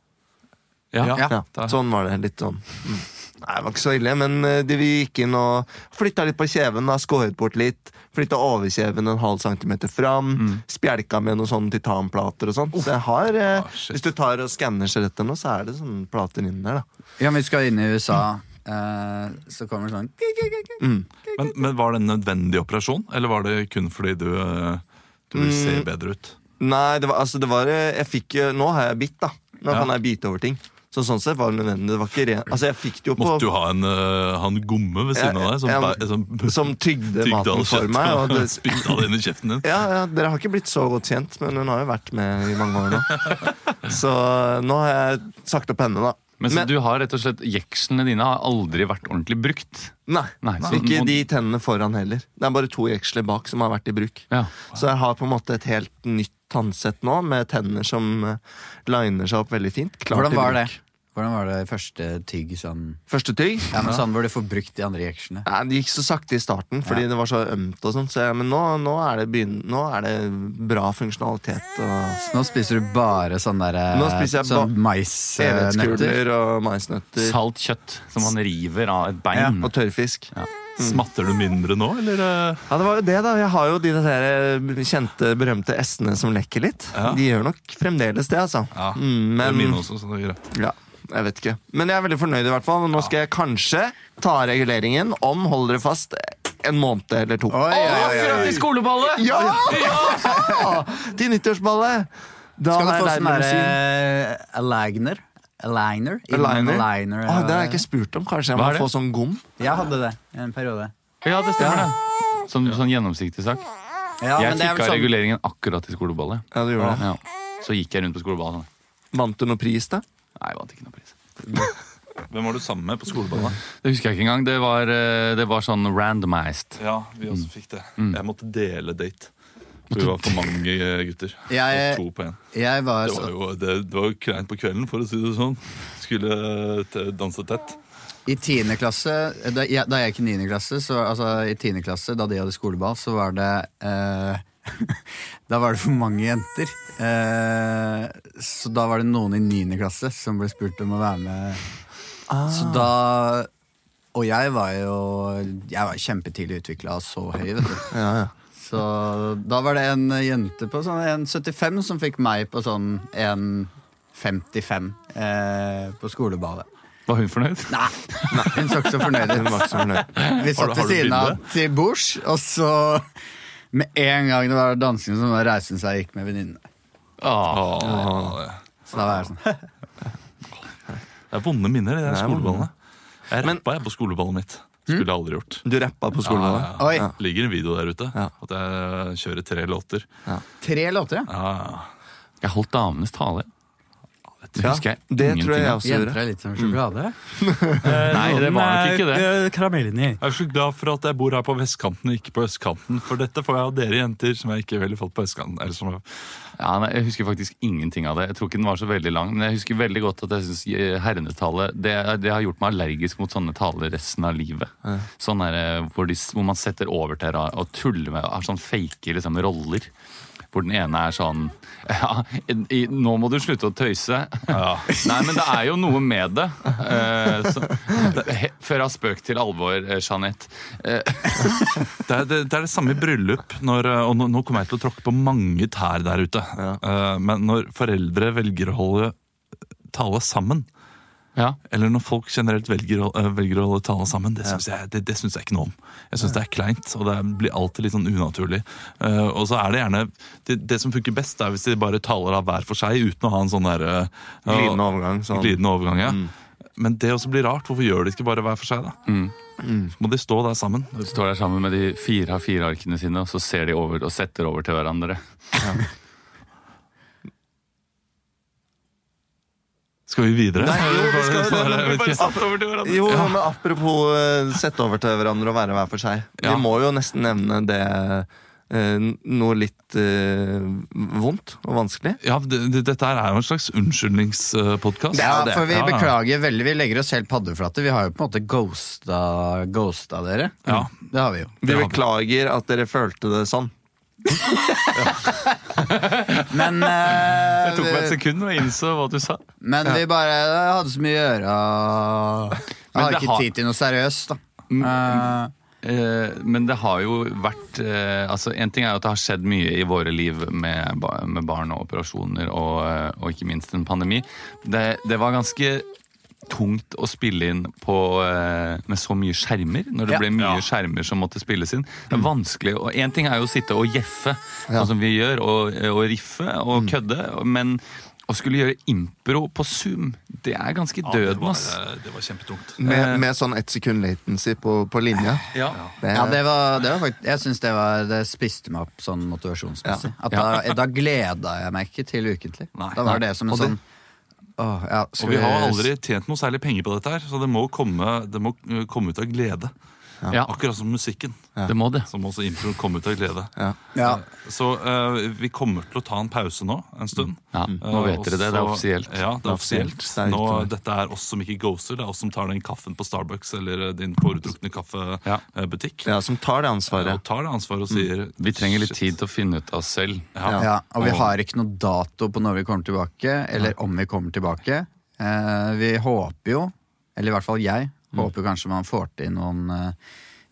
Speaker 3: Ja.
Speaker 1: Ja.
Speaker 2: Ja, sånn var det. Litt sånn. Mm. Nei, det var ikke så ille, men eh, de, vi gikk inn og flytta litt på kjeven. da, Skåret bort litt. Flytta overkjeven en halv centimeter fram.
Speaker 1: Mm.
Speaker 2: Spjelka med noen sånne titanplater og sånn. Så jeg har, eh,
Speaker 1: Oh. Ah, shit.
Speaker 2: hvis du tar og skanner skjelettet nå, så er det sånne plater inni der, da.
Speaker 5: Ja, men vi skal inn i USA, eh, så kommer det sånn
Speaker 1: Men, men var det en nødvendig operasjon, eller var det kun fordi du, eh, du vil
Speaker 5: Mm.
Speaker 1: se bedre ut?
Speaker 2: Nei, det var, altså, det var eh, Jeg fikk eh, Nå har jeg bitt, da. Nå
Speaker 1: Ja.
Speaker 2: kan jeg bite over ting. Så sånn sett var det nødvendig. Det var ikke ren Altså, jeg fikk det jo på
Speaker 1: Måtte du ha en, eh, ha en gomme ved siden av deg som,
Speaker 2: Jeg-
Speaker 1: bæ- som, [LAUGHS]
Speaker 2: [LAUGHS] Som tygde maten for
Speaker 1: kjøtt,
Speaker 2: meg.
Speaker 1: [LAUGHS]
Speaker 2: Og det,
Speaker 1: spytta det inn i kjeften din.
Speaker 2: Ja, ja, Dere har ikke blitt så godt kjent, men hun har jo vært med i mange
Speaker 3: [LAUGHS]
Speaker 2: år nå. Så nå har jeg sagt opp henne, da.
Speaker 3: Men, så
Speaker 2: Men-
Speaker 3: du har rett og slett Jekslene dine har aldri vært ordentlig brukt.
Speaker 2: Nei,
Speaker 3: Nei, så
Speaker 2: ikke
Speaker 3: må-
Speaker 2: de tennene foran heller. Det er bare to jeksler bak som har vært i bruk.
Speaker 3: Ja.
Speaker 2: Så jeg har på en måte et helt nytt tannsett nå, med tenner som eh, liner seg opp veldig fint. Klart
Speaker 5: Hvordan
Speaker 2: i
Speaker 5: var det?
Speaker 2: bruk.
Speaker 5: Hvordan var det første tygg sånn
Speaker 2: Første tygg?
Speaker 5: Ja, men sånn hvor du får brukt de andre jeksjene.
Speaker 2: Nei, det gikk så sakte i starten, fordi det var så ømt. og sånn så, jeg- Men nå, nå, er det begyn nå er det bra funksjonalitet. Og
Speaker 5: Nå spiser du bare sånn der eh,
Speaker 2: Nå spiser jeg
Speaker 5: sånn
Speaker 2: ba-
Speaker 5: maisnøtter.
Speaker 2: evighetskuler og maisnøtter.
Speaker 3: Salt kjøtt som man river av et
Speaker 5: Ja,
Speaker 3: bein. Mm.
Speaker 2: Og tørrfisk.
Speaker 1: Smatter du mindre nå, eller? eh?
Speaker 2: Ja, det var jo det, da. Jeg har jo de der eh, kjente, berømte S-ene som lekker litt.
Speaker 1: Ja.
Speaker 2: De gjør nok fremdeles det, altså.
Speaker 1: Ja,
Speaker 2: Mm,
Speaker 1: Det er
Speaker 2: men
Speaker 1: mine også, så det er greit.
Speaker 2: ja, jeg vet ikke. Men jeg er veldig fornøyd, i hvert fall. Nå skal jeg kanskje ta reguleringen om, hold dere fast, en måned eller
Speaker 5: Oi,
Speaker 2: to.
Speaker 5: oi, oi, oi.
Speaker 3: Akkurat i skoleballet!
Speaker 2: Ja! Til nyttårsballet! Da
Speaker 5: Skal du
Speaker 2: har
Speaker 5: få
Speaker 2: jeg
Speaker 5: sånn
Speaker 2: nærmere
Speaker 5: der
Speaker 2: syn.
Speaker 5: eh, aligner? Aligner? Innom
Speaker 2: Aligner?
Speaker 5: aligner
Speaker 2: Å,
Speaker 5: eller-
Speaker 2: det har jeg ikke spurt om. Kanskje jeg må
Speaker 3: Hva er det?
Speaker 2: få sånn gom?
Speaker 5: Jeg hadde det en periode.
Speaker 3: Ja, det stemmer det. Som sånn gjennomsiktig sak.
Speaker 5: Ja,
Speaker 3: jeg
Speaker 5: men det er
Speaker 3: fikk
Speaker 5: vel
Speaker 3: av
Speaker 5: sånn-
Speaker 3: reguleringen akkurat i skoleballet.
Speaker 2: Ja, du gjorde det.
Speaker 3: Ja. Så gikk jeg rundt på skoleballet. sånn.
Speaker 2: Vant du noe pris, da?
Speaker 3: Nei, jeg vant ikke noen pris.
Speaker 1: Hvem var du sammen med på skoleballet?
Speaker 3: Det husker jeg ikke engang. Det var, eh, det var sånn randomized.
Speaker 1: Ja, vi også fikk det. Jeg måtte dele date. For vi var for mange eh, gutter.
Speaker 5: Jeg-
Speaker 1: to på en.
Speaker 5: Jeg var,
Speaker 2: altså-
Speaker 1: Det
Speaker 5: så,
Speaker 1: var jo, det, det var jo kleint på kvelden, for å si det sånn. Skulle eh, te- danse tett.
Speaker 5: I tiende klasse Da jeg, da jeg gikk i niende klasse, så, altså, i tiende klasse, da de hadde skoleball, så var det eh, [LAUGHS] Da var det for mange jenter. Eh, så da var det noen i niende klasse som ble spurt om å være med. Så da Og jeg var jo Jeg var kjempetidlig utvikla og så høy, vet du.
Speaker 2: Ja, ja.
Speaker 5: Så da var det en jente på sånn 1,75 som fikk meg på sånn 1,55 eh, på skoleballet.
Speaker 3: Var hun fornøyd?
Speaker 5: Nei, hun så ikke så fornøyd
Speaker 2: Hun
Speaker 5: ut.
Speaker 2: var ikke så fornøyd.
Speaker 5: Vi satt
Speaker 1: har
Speaker 5: ved
Speaker 1: du
Speaker 5: siden av
Speaker 1: bilde?
Speaker 5: til bords, og så med en gang det var dansing, så bare reiste hun seg og gikk med venninnene.
Speaker 3: Ah,
Speaker 1: Åh,
Speaker 5: Så da var jeg sånn
Speaker 1: det er vonde minner, de der
Speaker 2: Det er
Speaker 1: skoleballene. Jeg
Speaker 2: Men-
Speaker 1: rappa jeg på skoleballet mitt. Skulle jeg aldri gjort.
Speaker 2: Du rappa på skolen? da?
Speaker 5: Oi,
Speaker 1: Ja. Ligger en video der ute.
Speaker 2: Ja.
Speaker 1: At jeg kjører tre låter.
Speaker 5: tre låter, ja.
Speaker 1: Ja, ja.
Speaker 3: jeg holdt damenes tale. Det
Speaker 2: Ja,
Speaker 3: husker jeg
Speaker 2: det
Speaker 3: ingenting
Speaker 2: tror jeg jeg
Speaker 3: av.
Speaker 2: også
Speaker 5: Jenter
Speaker 2: gjorde.
Speaker 5: er litt som sjokolade.
Speaker 3: Eh, Nei, Mm. det var nok ikke det.
Speaker 6: Karamellen i.
Speaker 1: Jeg er så glad for at jeg bor her på vestkanten og ikke på østkanten. For dette får jeg av dere jenter, som jeg ikke ville fått på østkanten. Eller som
Speaker 3: Ja, nei, jeg husker faktisk ingenting av det. Jeg tror ikke den var så veldig lang, men jeg husker veldig godt at jeg synes eh, herrenetalet det, det har gjort meg allergisk mot sånne taler resten av livet. Sånn der, eh, hvor, de, s- hvor man setter over til ra- og tuller med har sånn fake liksom, roller. hvor den ene er sånn [LAUGHS] ja, i, Nå må du slutte å tøyse. [LAUGHS] Nei, men det er jo noe med det. Eh, så, det he, før av spøk til alvor, eh, Jeanette. Eh,
Speaker 1: Det er det, det er det samme i bryllup. Når, eh, og nå, nå kommer jeg til å tråkke på mange tær der ute. Eh, Men når foreldre velger å holde tale sammen,
Speaker 3: ja.
Speaker 1: eller når folk generelt velger, å- eh, velger å holde tale sammen, det syns jeg, det, det synes jeg ikke noe om. Jeg syns det er kleint, og det blir alltid litt sånn unaturlig. Eh, og så er det gjerne Det, det som funker best, er hvis de bare taler av hver for seg, uten å ha en sånn derre
Speaker 2: Glidende overgang. Sånn.
Speaker 1: glidende overgang. Ja. Men det også blir rart. Hvorfor gjør de ikke bare hver for seg, da? Mm. Så må de stå der sammen.
Speaker 3: De står der sammen med de fire av fire arkene sine, og så ser de over og setter over til hverandre.
Speaker 1: Skal vi videre?
Speaker 2: vi
Speaker 1: [LAUGHS] Bare-
Speaker 2: skal- Jo, men apropos eh, sette over til hverandre og være hver for seg.
Speaker 1: Ja.
Speaker 2: Vi må jo nesten nevne det eh, noe litt eh, vondt og vanskelig.
Speaker 1: Ja, det, det, dette her er jo en slags eh, unnskyldningspodkast.
Speaker 5: Ja, for vi
Speaker 1: Ja, ja.
Speaker 5: beklager veldig. Vi legger oss helt paddeflate. Vi har jo på en måte ghosta, ghosta dere.
Speaker 1: Ja.
Speaker 5: Det har vi jo.
Speaker 2: Vi beklager at dere følte det sånn.
Speaker 5: Men, eh,
Speaker 3: Det tok meg et sekund å innse hva du sa.
Speaker 5: men vi bare jeg hadde så mye å gjøre. og Jeg
Speaker 3: Men
Speaker 5: hadde
Speaker 3: det
Speaker 5: ikke
Speaker 3: har-
Speaker 5: tid til noe seriøst, da. Eh,
Speaker 3: Eh, Men det har jo vært eh, altså En ting er jo at det har skjedd mye i våre liv med, ba- med barn og operasjoner og, eh, og ikke minst en pandemi. Det, det var ganske tungt å spille inn på, eh, med så mye skjermer, når det
Speaker 5: Ja.
Speaker 3: ble mye
Speaker 1: Ja. Mm.
Speaker 3: skjermer som måtte spilles inn. Det er vanskelig, og En ting er jo å sitte og gjeffe, sånn som vi gjør, og, og riffe og
Speaker 1: Mm.
Speaker 3: kødde, men å skulle gjøre impro på Zoom, det er ganske
Speaker 1: Ja, det
Speaker 3: døden,
Speaker 1: var,
Speaker 3: ass.
Speaker 1: det var kjempetungt.
Speaker 4: Med, med sånn ett sekund latency på, på linja.
Speaker 3: Ja.
Speaker 4: Det,
Speaker 5: Ja, det var, det var faktisk, jeg synes det, var, det spiste meg opp sånn motivasjonsmessig. At da, da gleda jeg meg ikke til ukentlig.
Speaker 1: Nei.
Speaker 5: da var det som en
Speaker 4: Og det-
Speaker 5: sånn åh, ja, skal
Speaker 1: Og vi har aldri tjent noe særlig penger på dette her, så det må komme, det må eh, komme ut av glede.
Speaker 3: Ja.
Speaker 1: Akkurat som musikken,
Speaker 3: Det må det.
Speaker 1: som også improen kom ut av glede.
Speaker 5: ja.
Speaker 1: Så eh, vi kommer til å ta en pause nå en stund.
Speaker 3: Mm. Ja, nå
Speaker 1: Eh,
Speaker 3: vet dere det. Det er
Speaker 1: og så-
Speaker 3: offisielt.
Speaker 1: Ja, det er
Speaker 2: offisielt.
Speaker 1: offisielt.
Speaker 2: Det er
Speaker 1: Nå,
Speaker 2: riktig.
Speaker 1: dette er oss som ikke ghoster, det er oss som tar den kaffen på Starbucks eller eh, din foretrukne
Speaker 3: Ja.
Speaker 1: kaffebutikk.
Speaker 2: Ja, Som tar det
Speaker 1: Og
Speaker 2: ansvaret.
Speaker 1: tar det ansvaret og sier
Speaker 3: Mm. Vi trenger litt
Speaker 1: «Shit,
Speaker 3: tid til å finne ut av oss selv.
Speaker 1: Ja.
Speaker 5: Ja, og vi har ikke noe dato på når vi kommer tilbake, eller om vi kommer tilbake. Eh, vi håper jo, eller i hvert fall jeg,
Speaker 1: Mm.
Speaker 5: håper jo kanskje man får til noen eh,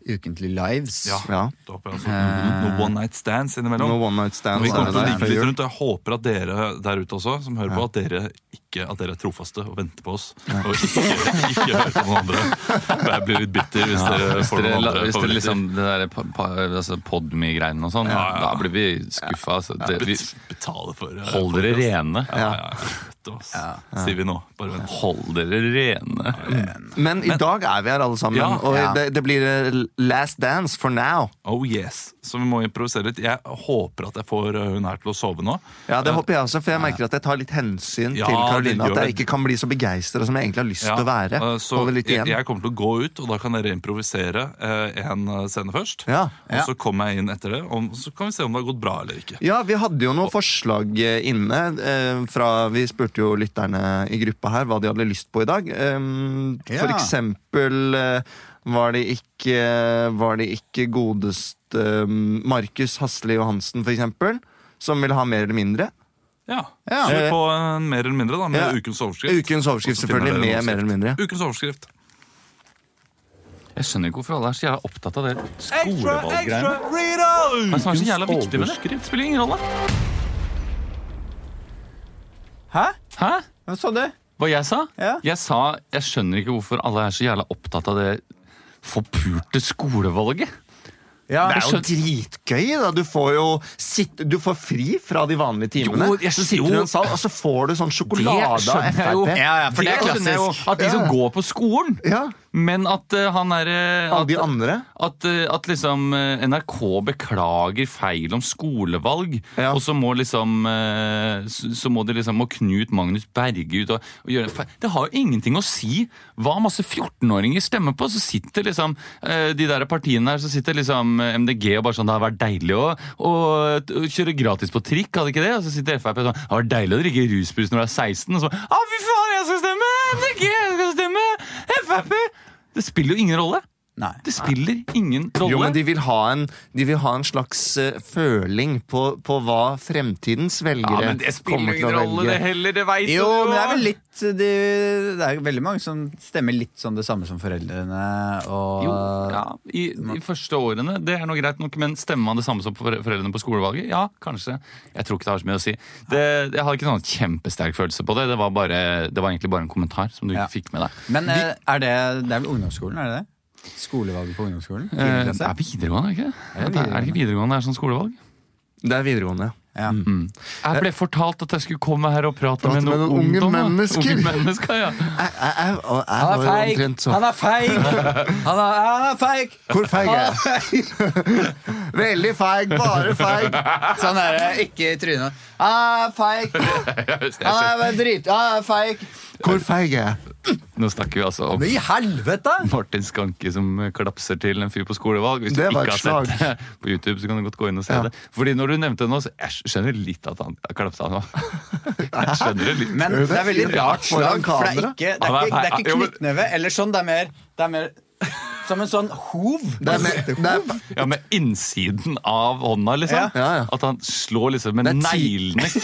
Speaker 5: ukentlige lives.
Speaker 1: Ja.
Speaker 2: Ja.
Speaker 1: Da håper jeg altså
Speaker 3: Eh.
Speaker 1: noen noen one night stands innimellom.
Speaker 2: Noe one night
Speaker 1: Men
Speaker 2: stands.
Speaker 1: vi kommer
Speaker 2: er
Speaker 1: til å
Speaker 2: det der.
Speaker 1: ligge litt rundt, og jeg håper at dere der ute også, som hører på, at dere, ikke, at dere er trofaste og venter på oss. Og ikke, ikke hører på noen andre. For jeg blir litt bitter hvis dere
Speaker 3: Hvis
Speaker 1: får
Speaker 3: dere,
Speaker 1: noen
Speaker 3: la-
Speaker 1: andre
Speaker 3: hvis dere
Speaker 1: favoritter.
Speaker 3: liksom det der pa- pa- altså Podme-greiene og sånn,
Speaker 1: Ja, ja, ja.
Speaker 3: da blir vi skuffa. Altså. Det, vi,
Speaker 1: Bet- Betale for eh,
Speaker 3: hold dere rene.
Speaker 1: Ja, ja, ja. Vet du hva, ass. Sier vi nå. Bare vent.
Speaker 3: Hold dere rene.
Speaker 2: Men i dag er vi her alle sammen,
Speaker 1: Ja.
Speaker 2: og
Speaker 5: Ja.
Speaker 2: det, det blir eh, last dance for now.
Speaker 1: Oh yes. Så vi må improvisere litt. Jeg håper at jeg får eh, hun her til å sove nå. Eh,
Speaker 2: Ja, Det håper jeg også, for jeg merker at jeg tar litt hensyn
Speaker 1: Ja,
Speaker 2: til
Speaker 1: det
Speaker 2: Karoline.
Speaker 1: gjør
Speaker 2: At jeg
Speaker 1: det.
Speaker 2: ikke kan bli så begeistra som jeg egentlig har lyst til å være.
Speaker 1: eh, Så
Speaker 2: Holde litt
Speaker 1: jeg,
Speaker 2: igjen.
Speaker 1: jeg kommer til å gå ut, og da kan dere improvisere eh, en eh, scene først.
Speaker 2: Ja.
Speaker 5: Ja.
Speaker 1: Og så kommer jeg inn etter det, og så kan vi se om det har gått bra eller ikke.
Speaker 2: Ja, vi hadde jo noen forslag eh, inne. eh, Fra, vi spurte jo lytterne i gruppa her hva de hadde lyst på i dag. Um,
Speaker 5: Ja.
Speaker 2: For eksempel eh, var det ikke, var det ikke godest eh, Markus Hasle Johansen, for eksempel, som ville ha mer eller mindre.
Speaker 1: Ja.
Speaker 5: Ja.
Speaker 1: Så vi på en mer eller mindre da, med
Speaker 2: Ja.
Speaker 1: ukens overskrift.
Speaker 2: Ukens
Speaker 1: Og
Speaker 2: overskrift,
Speaker 1: så finner
Speaker 2: selvfølgelig,
Speaker 1: dere
Speaker 2: med
Speaker 1: en
Speaker 2: mer eller mindre.
Speaker 1: Ukens overskrift.
Speaker 3: Jeg skjønner ikke hvorfor alle er så jævla opptatt av det skolevalggreiene. Hva er det som er så jævla viktig med det? Det spiller ingen rolle.
Speaker 2: Hæ?
Speaker 3: Hæ?
Speaker 2: Hva sa du?
Speaker 3: Hva jeg sa?
Speaker 2: Ja.
Speaker 3: Jeg sa jeg skjønner ikke hvorfor alle er så jævla opptatt av det forpurte skolevalget.
Speaker 2: det
Speaker 3: jeg
Speaker 2: er jo dritgøy, da. Du får jo sitt, du får fri fra de vanlige timene.
Speaker 3: Jo, jeg
Speaker 2: så sitter
Speaker 3: jo-
Speaker 2: du i en sal, og så får du sånn sjokolade av
Speaker 3: skjønner jeg jo.
Speaker 2: Frp.
Speaker 5: Ja, ja, for det er
Speaker 3: Jeg skjønner jo
Speaker 5: klassisk.
Speaker 3: At de som
Speaker 2: Ja.
Speaker 3: går på skolen,
Speaker 2: Ja,
Speaker 3: men at eh, han er eh,
Speaker 2: alle
Speaker 3: at,
Speaker 2: de andre.
Speaker 3: At, eh, at liksom eh, NRK beklager feil om skolevalg,
Speaker 2: Ja.
Speaker 3: og så må liksom eh, Så så må det liksom må Knut Magnus Berge ut og, og gjøre en feil. Det har jo ingenting å si hva masse 14-åringer stemmer på. Så sitter liksom eh, de der partiene her, så sitter liksom eh, MDG og bare sånn Det hadde vært deilig å, å, å kjøre gratis på trikk, hadde ikke det? Og så sitter Frp sånn Det hadde vært deilig å drikke rusbrus når du er 16, og så Å, fy faen, jeg skal stemme! MDG, jeg skal stemme! Frp! Det spiller jo ingen rolle.
Speaker 5: Nei.
Speaker 3: Det spiller ingen rolle.
Speaker 2: Jo, men de vil ha en, de vil ha en slags eh, føling på, på hva fremtidens
Speaker 3: ja,
Speaker 2: velgere
Speaker 3: men det
Speaker 2: kommer
Speaker 3: spiller
Speaker 2: til å
Speaker 3: ingen rolle, det
Speaker 2: velge.
Speaker 3: heller. Det veit
Speaker 5: [LAUGHS] Jo, men det er vel litt de, Det er veldig mange som stemmer litt sånn det samme som foreldrene. Og
Speaker 3: Jo, ja, i de første årene, det er noe greit nok, men stemmer man det samme som for- foreldrene på skolevalget? Ja, kanskje. Jeg tror ikke det har så mye å si. Det, jeg hadde ikke noen kjempesterk følelse på det. Det var, bare, det var egentlig bare en kommentar som du
Speaker 5: Ja.
Speaker 3: ikke fikk med deg.
Speaker 5: Men eh, er det, det er vel ungdomsskolen? er det det? Skolevalget på ungdomsskolen?
Speaker 3: Eh,
Speaker 5: Tiende
Speaker 3: Det
Speaker 5: klasse?
Speaker 3: er videregående, er det ikke? det?
Speaker 5: det
Speaker 3: Er det ikke videregående det er sånn skolevalg?
Speaker 2: Det er videregående.
Speaker 5: Ja.
Speaker 3: Jeg ble fortalt at jeg skulle komme her og prate
Speaker 4: Prate
Speaker 3: med noen,
Speaker 4: med noen unge
Speaker 3: ungdom, da.
Speaker 4: mennesker.
Speaker 3: Unge mennesker ja.
Speaker 2: Jeg, jeg, jeg, og jeg var jo omtrent sånn.
Speaker 5: er feig! [LAUGHS] Han er, han er feig!
Speaker 4: Hvor feig er jeg?
Speaker 2: [LAUGHS]
Speaker 4: Veldig feig, bare feig.
Speaker 5: Sånn er det. Ikke i trynet. Han er feig! Han er drit... Han er feig!
Speaker 2: Hvor feig er jeg?
Speaker 3: Nå snakker vi altså om
Speaker 5: Men i helvete!
Speaker 3: Martin Skanke som klapser til en fyr på skolevalg. Hvis du
Speaker 4: Det
Speaker 3: ikke har
Speaker 4: var et
Speaker 3: sett det på YouTube, så kan du godt gå inn og se det. Fordi når du nevnte det nå, så jeg skjønner litt at han klapsa nå. Jeg skjønner det litt.
Speaker 5: Men det er veldig rart
Speaker 4: Foran
Speaker 5: slag, for det er
Speaker 4: kamera.
Speaker 5: ikke, det er
Speaker 3: Han
Speaker 5: ikke,
Speaker 3: er
Speaker 5: det er
Speaker 3: feig. Jo,
Speaker 5: ikke
Speaker 3: men-
Speaker 5: knyttneve eller sånn. Det er mer, det er mer som en sånn hov.
Speaker 4: Det er, med, det er
Speaker 3: Ja, Med innsiden av hånda, liksom.
Speaker 2: Ja, ja.
Speaker 3: At han slår liksom med
Speaker 2: Det er ti-
Speaker 3: neglene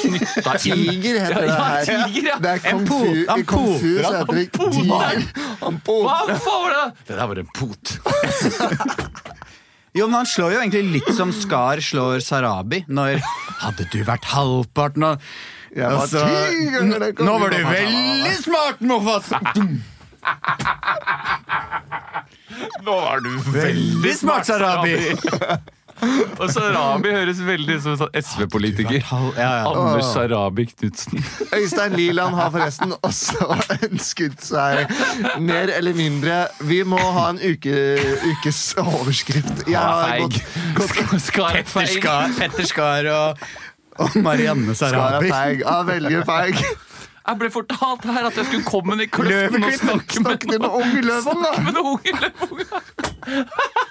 Speaker 2: [LAUGHS]
Speaker 3: knytta inn.
Speaker 4: Tiger heter det her.
Speaker 3: Ja, tiger, ja.
Speaker 4: Det er
Speaker 3: En
Speaker 4: kung
Speaker 3: po-
Speaker 4: fu.
Speaker 3: han
Speaker 4: I kung fu
Speaker 3: poter,
Speaker 4: så
Speaker 3: han
Speaker 4: heter det
Speaker 3: poter.
Speaker 4: tiger.
Speaker 3: Hva faen var det? Det der var en pot.
Speaker 5: Jo, men Han slår jo egentlig litt som Skar slår Sarabi når Hadde du vært halvparten av
Speaker 4: Jeg var
Speaker 5: Altså,
Speaker 4: ti ganger den kongen.
Speaker 5: Nå var du veldig smart, Mofas!
Speaker 3: Nå er du veldig
Speaker 5: smart, Sarabi. [LAUGHS]
Speaker 3: Og Sarabi høres veldig ut som en sånn SV-politiker.
Speaker 5: Ja, ja.
Speaker 3: Anders Sarabi Knutsen.
Speaker 4: Øystein Liland har forresten også [LAUGHS] ønsket seg mer eller mindre Vi må ha en uke, ukes overskrift. Jeg har gått
Speaker 3: Skar er
Speaker 5: Petter
Speaker 3: feig.
Speaker 5: Skar, Petter Skar og, og Marianne
Speaker 4: Skara
Speaker 5: Sarabi.
Speaker 4: feig. Ja, veldig feig.
Speaker 3: Jeg ble fortalt her at jeg skulle komme ned i kløften og
Speaker 4: Løveklippen.
Speaker 3: snakke med
Speaker 4: Snakk til noen unge løven, da!
Speaker 3: med noen unge løveunge.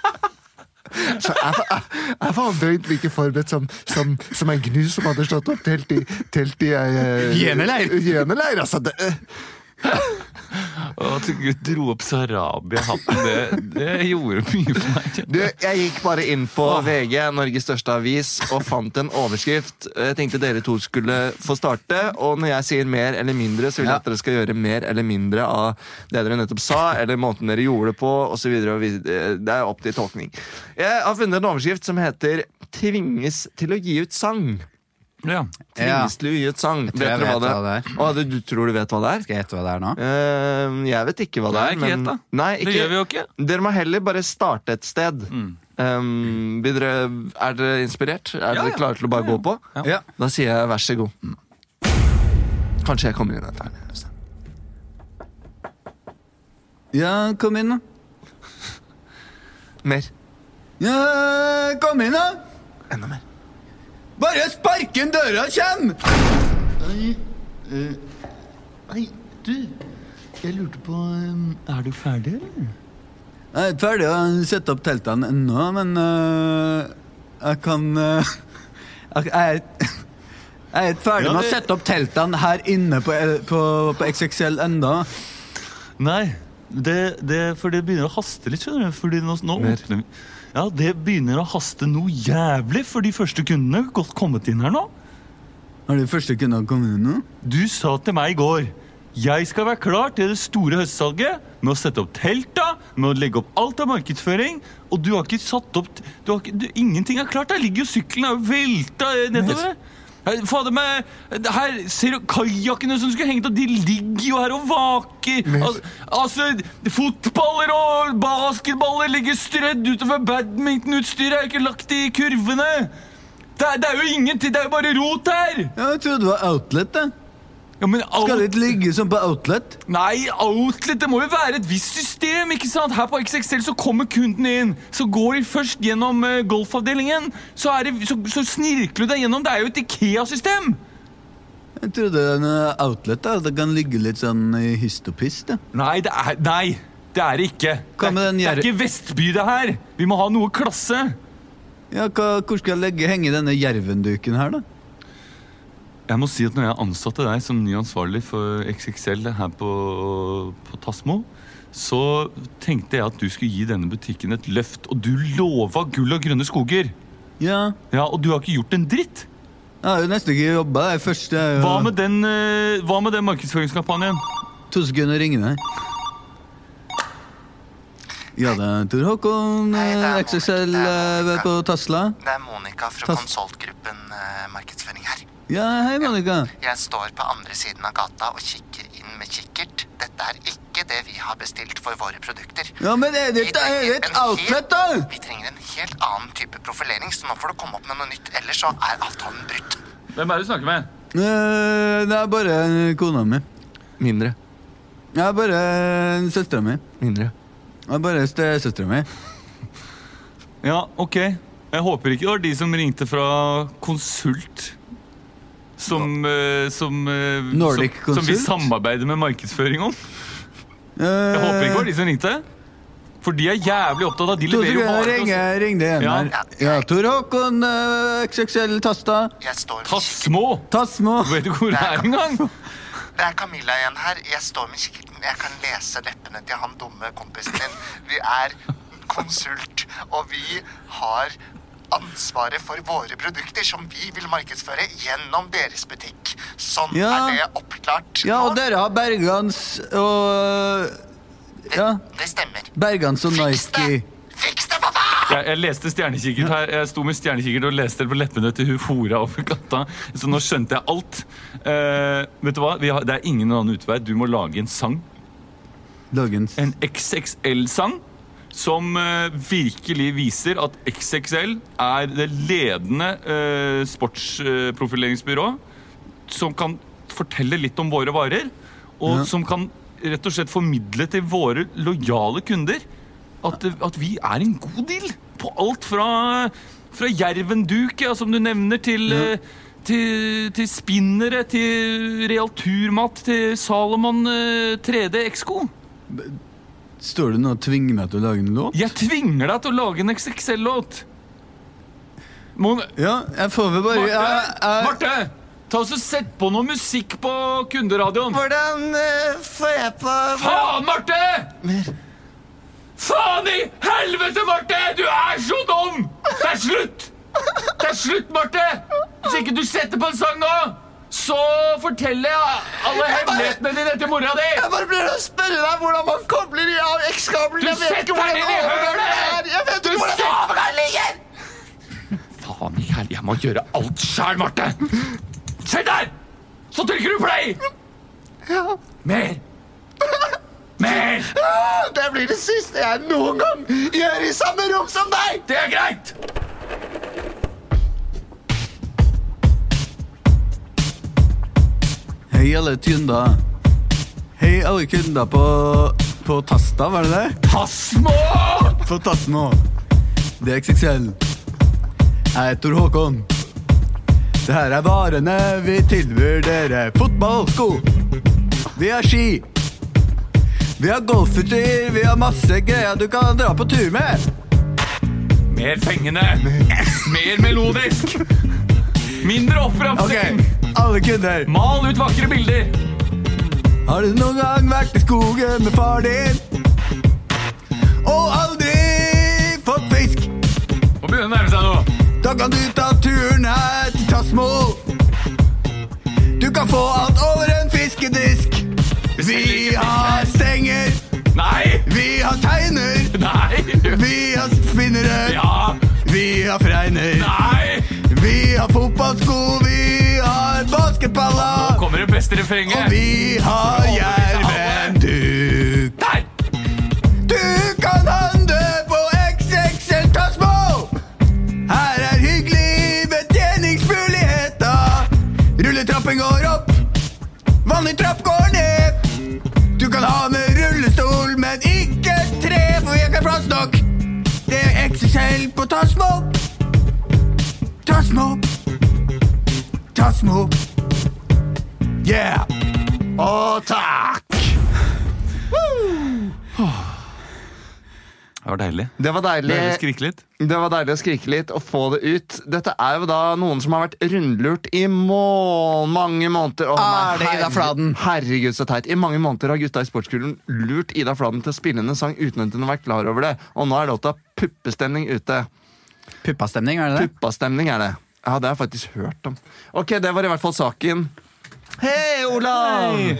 Speaker 4: Jeg var omtrent like forberedt som, som, som en gnu som hadde slått opp telt i, telt i eh,
Speaker 5: Jeneleir.
Speaker 4: Jeneleir, altså. Det, eh,
Speaker 3: Og At du dro opp Sarabia-hatten, det, det gjorde mye for meg.
Speaker 2: Du, jeg gikk bare inn på VG, Norges største avis, og fant en overskrift. Jeg tenkte dere to skulle få starte, og når jeg sier mer eller mindre, så vil jeg
Speaker 5: Ja.
Speaker 2: at dere skal gjøre mer eller mindre av det dere nettopp sa, eller måten dere gjorde det på, osv. Det er opp til tolkning. Jeg har funnet en overskrift som heter 'Tvinges til å gi ut sang'.
Speaker 3: Ja.
Speaker 5: Ja.
Speaker 2: Tvinges til å gi ut sang. Vet
Speaker 5: tror jeg
Speaker 2: dere hva
Speaker 5: vet
Speaker 2: det
Speaker 5: hva det
Speaker 2: er? Å, du, du tror du vet hva det er?
Speaker 5: Skal jeg gjette hva det er nå?
Speaker 2: Eh, jeg vet ikke hva det
Speaker 3: Nei,
Speaker 2: er.
Speaker 3: ikke
Speaker 2: men-
Speaker 3: gjett da.
Speaker 2: Nei,
Speaker 3: Det gjør vi jo ikke. Mm.
Speaker 2: Dere må heller bare starte et sted. Um, vil dere, er dere inspirert? Er dere
Speaker 3: ja. Mm.
Speaker 2: klare til å bare gå på?
Speaker 5: Ja.
Speaker 2: Da sier jeg vær så god. Kanskje jeg kommer inn etter den.
Speaker 5: ja, kom inn, da.
Speaker 2: Mer.
Speaker 5: Ja, kom inn, da!
Speaker 2: Enda mer.
Speaker 5: Bare spark inn døra, kjem!
Speaker 4: eh, Nei, du. Jeg lurte på eh, Er du ferdig, eller?
Speaker 5: Jeg er ikke ferdig å sette opp teltene ennå, men øh, jeg kan øh, Jeg jeg er jeg er ikke ferdig med å sette opp teltene her inne på, på, på XXL ennå.
Speaker 6: Nei, det, det, for det begynner å haste litt, skjønner du. Fordi nå, nå
Speaker 2: Mer.
Speaker 6: åpner vi. Ja, det begynner å haste noe jævlig, for de første kundene har godt kommet inn her nå.
Speaker 5: Har de første kundene kommet inn nå?
Speaker 6: Du sa til meg i går jeg skal være klar til det store høstsalget med å sette opp telta, med å legge opp alt av markedsføring. Og du har ikke satt opp t- du har ikke, du, Ingenting er klart. Der ligger jo sykkelen og velta eh, nedover. Her, fader meg, her ser du kajakkene som skulle hengt opp, de ligger jo her og vaker. Al altså, fotballer og basketballer ligger strødd utover badmintonutstyret. Er ikke lagt i kurvene. Det er, det er jo ingenting. Det er jo bare rot her.
Speaker 5: Ja, jeg trodde det var Outlet. det.
Speaker 6: Ja, men alt
Speaker 5: Skal det ikke ligge som på Outlet?
Speaker 6: Nei, outlet, det må jo være et visst system, ikke sant? Her på XXL så kommer kunden inn, så går de først gjennom eh, golfavdelingen, så, er det, så, så snirkler du deg gjennom, det er jo et IKEA-system!
Speaker 5: Jeg trodde det var noe Outlet da, det kan ligge litt sånn i hyst og pist. det.
Speaker 6: Nei, det er, nei, det er det ikke.
Speaker 5: Hva med
Speaker 6: det,
Speaker 5: den
Speaker 6: er, det
Speaker 5: gjerri-
Speaker 6: er ikke Vestby det her! Vi må ha noe klasse.
Speaker 5: Ja, hva, Hvor skal jeg legge, henge denne jervenduken her, da?
Speaker 6: Jeg må si at når jeg ansatte deg som ny ansvarlig for XXL her på, på Tasmo,
Speaker 3: så tenkte jeg at du skulle gi denne butikken et løft. Og du lova gull og grønne skoger.
Speaker 5: Ja,
Speaker 3: Ja, Og du har ikke gjort en dritt.
Speaker 5: jeg har jo nesten ikke jobba. Det første er jo
Speaker 3: Hva med den, eh, hva med den markedsføringskampanjen?
Speaker 5: to sekunder å ringe deg. Ja, det er Tor Håkon, eh,
Speaker 4: Hei, det er
Speaker 5: XXL
Speaker 4: Monica.
Speaker 5: eh, på Tasla.
Speaker 4: Det er Monica fra
Speaker 5: Tas-
Speaker 4: konsultgruppen eh, markedsføring her.
Speaker 5: Ja, hei, Monica.
Speaker 4: Jeg står på andre siden av gata og kikker inn med kikkert. Dette er ikke det vi har bestilt for våre produkter.
Speaker 5: Ja, men det,
Speaker 4: Vi
Speaker 5: dette er jo
Speaker 4: trenger
Speaker 5: et
Speaker 4: en helt-
Speaker 5: outlet, da!
Speaker 4: Vi trenger en helt annen type profilering, så nå får du komme opp med noe nytt, ellers så er avtalen brutt.
Speaker 3: Hvem er det du snakker med?
Speaker 5: Eh, Det er bare kona mi.
Speaker 2: Mindre.
Speaker 5: Det er bare søstera mi.
Speaker 2: Mindre.
Speaker 5: Det er bare stesøstera mi.
Speaker 3: Ja, ok. Jeg håper ikke det var de som ringte fra konsult. Som, eh, som, eh,
Speaker 5: Nordic
Speaker 3: som, som vi
Speaker 5: Consult?
Speaker 3: samarbeider med markedsføring om. Jeg
Speaker 5: Jeg
Speaker 3: håper ikke det var de som ringte. For de er jævlig opptatt av De
Speaker 5: To
Speaker 3: leverer jo
Speaker 5: sekunder,
Speaker 3: varer.
Speaker 5: ring,
Speaker 3: og-
Speaker 5: ring det igjen
Speaker 3: Ja.
Speaker 5: her. Ja, Tor Håkon, eh, XXL Tasta,
Speaker 4: Jeg står med kikkert.
Speaker 3: Tassmo!
Speaker 5: Tasmo.
Speaker 3: Vet du hvor det er engang?
Speaker 4: Det er Camilla igjen her. Jeg står med kikkerten. Jeg kan lese leppene til han dumme kompisen din. Vi er konsult, og vi har ansvaret for våre produkter som vi vil markedsføre gjennom deres butikk. Sånn
Speaker 5: Ja.
Speaker 4: er det oppklart.
Speaker 5: Ja, og
Speaker 4: nå.
Speaker 5: dere har Bergans og eh, Ja.
Speaker 4: Det stemmer.
Speaker 5: Bergans og
Speaker 4: Fiks
Speaker 5: Nike.
Speaker 4: det! Fiks det, for faen!
Speaker 3: Jeg, jeg leste stjernekikkert her. Jeg sto med stjernekikkert og leste det på leppene til hun fora over gata. Så nå skjønte jeg alt. Eh, vet du hva? Vi har, det er ingen annen utvei. Du må lage en sang.
Speaker 5: Dagens
Speaker 3: En XXL-sang. Som eh, virkelig viser at XXL er det ledende eh, sportsprofileringsbyrå. som kan fortelle litt om våre varer. Og
Speaker 5: Ja.
Speaker 3: som kan rett og slett formidle til våre lojale kunder at, at vi er en god deal på alt fra, fra jervenduk, ja, som du nevner, til, eh, til, til spinnere, til realturmat, til Salomon eh, 3D Exco.
Speaker 5: Står du nå og tvinger meg til å lage en låt?
Speaker 3: Jeg tvinger deg til å lage en XXL-låt! Mon
Speaker 5: Ja, jeg får vel bare
Speaker 3: Marte!
Speaker 5: jeg, jeg,
Speaker 3: Marte! Ta oss og Sett på noe musikk på kunderadioen!
Speaker 2: Hvordan eh, får jeg på
Speaker 3: Faen, Marte! Faen i helvete, Marte! Du er så dum! Det er slutt! Det er slutt, Marte! Hvis ikke du setter på en sang nå, så forteller jeg alle hemmelighetene dine til mora di!
Speaker 2: Jeg bare prøver å spørre deg hvordan man kobler i av X-kabelen.
Speaker 3: Du
Speaker 2: Jeg vet
Speaker 3: setter
Speaker 2: ikke hvordan
Speaker 3: deg ned i
Speaker 2: overgangen
Speaker 3: hølet!
Speaker 2: er. Jeg vet ikke hvordan
Speaker 3: setter-
Speaker 2: overgangen ligger!
Speaker 3: Faen i helvete, jeg må gjøre alt sjæl, Marte! Se der! Så trykker du play! Mer! Mer!
Speaker 2: Det blir det siste jeg noen gang gjør i samme rom som deg!
Speaker 3: Det er greit!
Speaker 5: Hei, alle kunder. Hei, alle kunder på, på Tasta, var det det?
Speaker 3: Tasmo!
Speaker 5: På Tasmo. Det er XXL. Jeg heter Håkon. Det her er varene vi tilbyr dere. Fotballsko. Vi har ski. Vi har golfutstyr. Vi har masse greier du kan dra på tur med.
Speaker 3: Mer fengende! Mer melodisk! Mindre
Speaker 5: Ok,
Speaker 3: oppramsing!
Speaker 5: alle kunder.
Speaker 3: Mal ut vakre bilder!
Speaker 5: Har du noen gang vært i skogen med far din? Og aldri fått fisk?
Speaker 3: Og begynne å nærme seg noe.
Speaker 5: Da kan du ta turen her til Tasmo. Du kan få alt over en fiskedisk. Vi har stenger,
Speaker 3: Nei!
Speaker 5: vi har teiner,
Speaker 3: Nei!
Speaker 5: vi har spinnere,
Speaker 3: Ja!
Speaker 5: vi har fregner.
Speaker 3: Nei!
Speaker 5: Vi har fotballsko, vi har basketballer,
Speaker 3: Kommer det beste
Speaker 5: og
Speaker 3: refrenget?
Speaker 5: vi har jervenduk.
Speaker 3: Der!
Speaker 5: Du kan handle på XXL Tasmo! Her er hyggelige betjeningsmuligheter. Rulletrappen går opp, vanlig trapp går ned. Du kan ha med rullestol, men ikke tre, for vi har ikke plass nok. Det er XXL på Tasmo. Tasmo. Tasmo. Yeah!
Speaker 2: Å, takk!
Speaker 3: Ja, var deilig.
Speaker 2: Det var deilig.
Speaker 3: Deilig å skrike litt.
Speaker 2: Det var deilig å skrike litt og få det ut. Dette er jo da noen som har vært rundlurt i må mange måneder. Å,
Speaker 5: Ah,
Speaker 2: nei,
Speaker 5: det er Ida
Speaker 2: herre-
Speaker 5: Fladen.
Speaker 2: Herregud, så teit. I mange måneder har gutta i sportsklubben lurt Ida Fladen til å spille inn en sang uten at hun har vært klar over det. Og nå er låta Puppestemning ute.
Speaker 5: Puppastemning, er det det?
Speaker 2: Puppastemning er det. Ja, det har jeg faktisk hørt om. Ok, det var i hvert fall saken. Hei, Olav!
Speaker 1: Eh,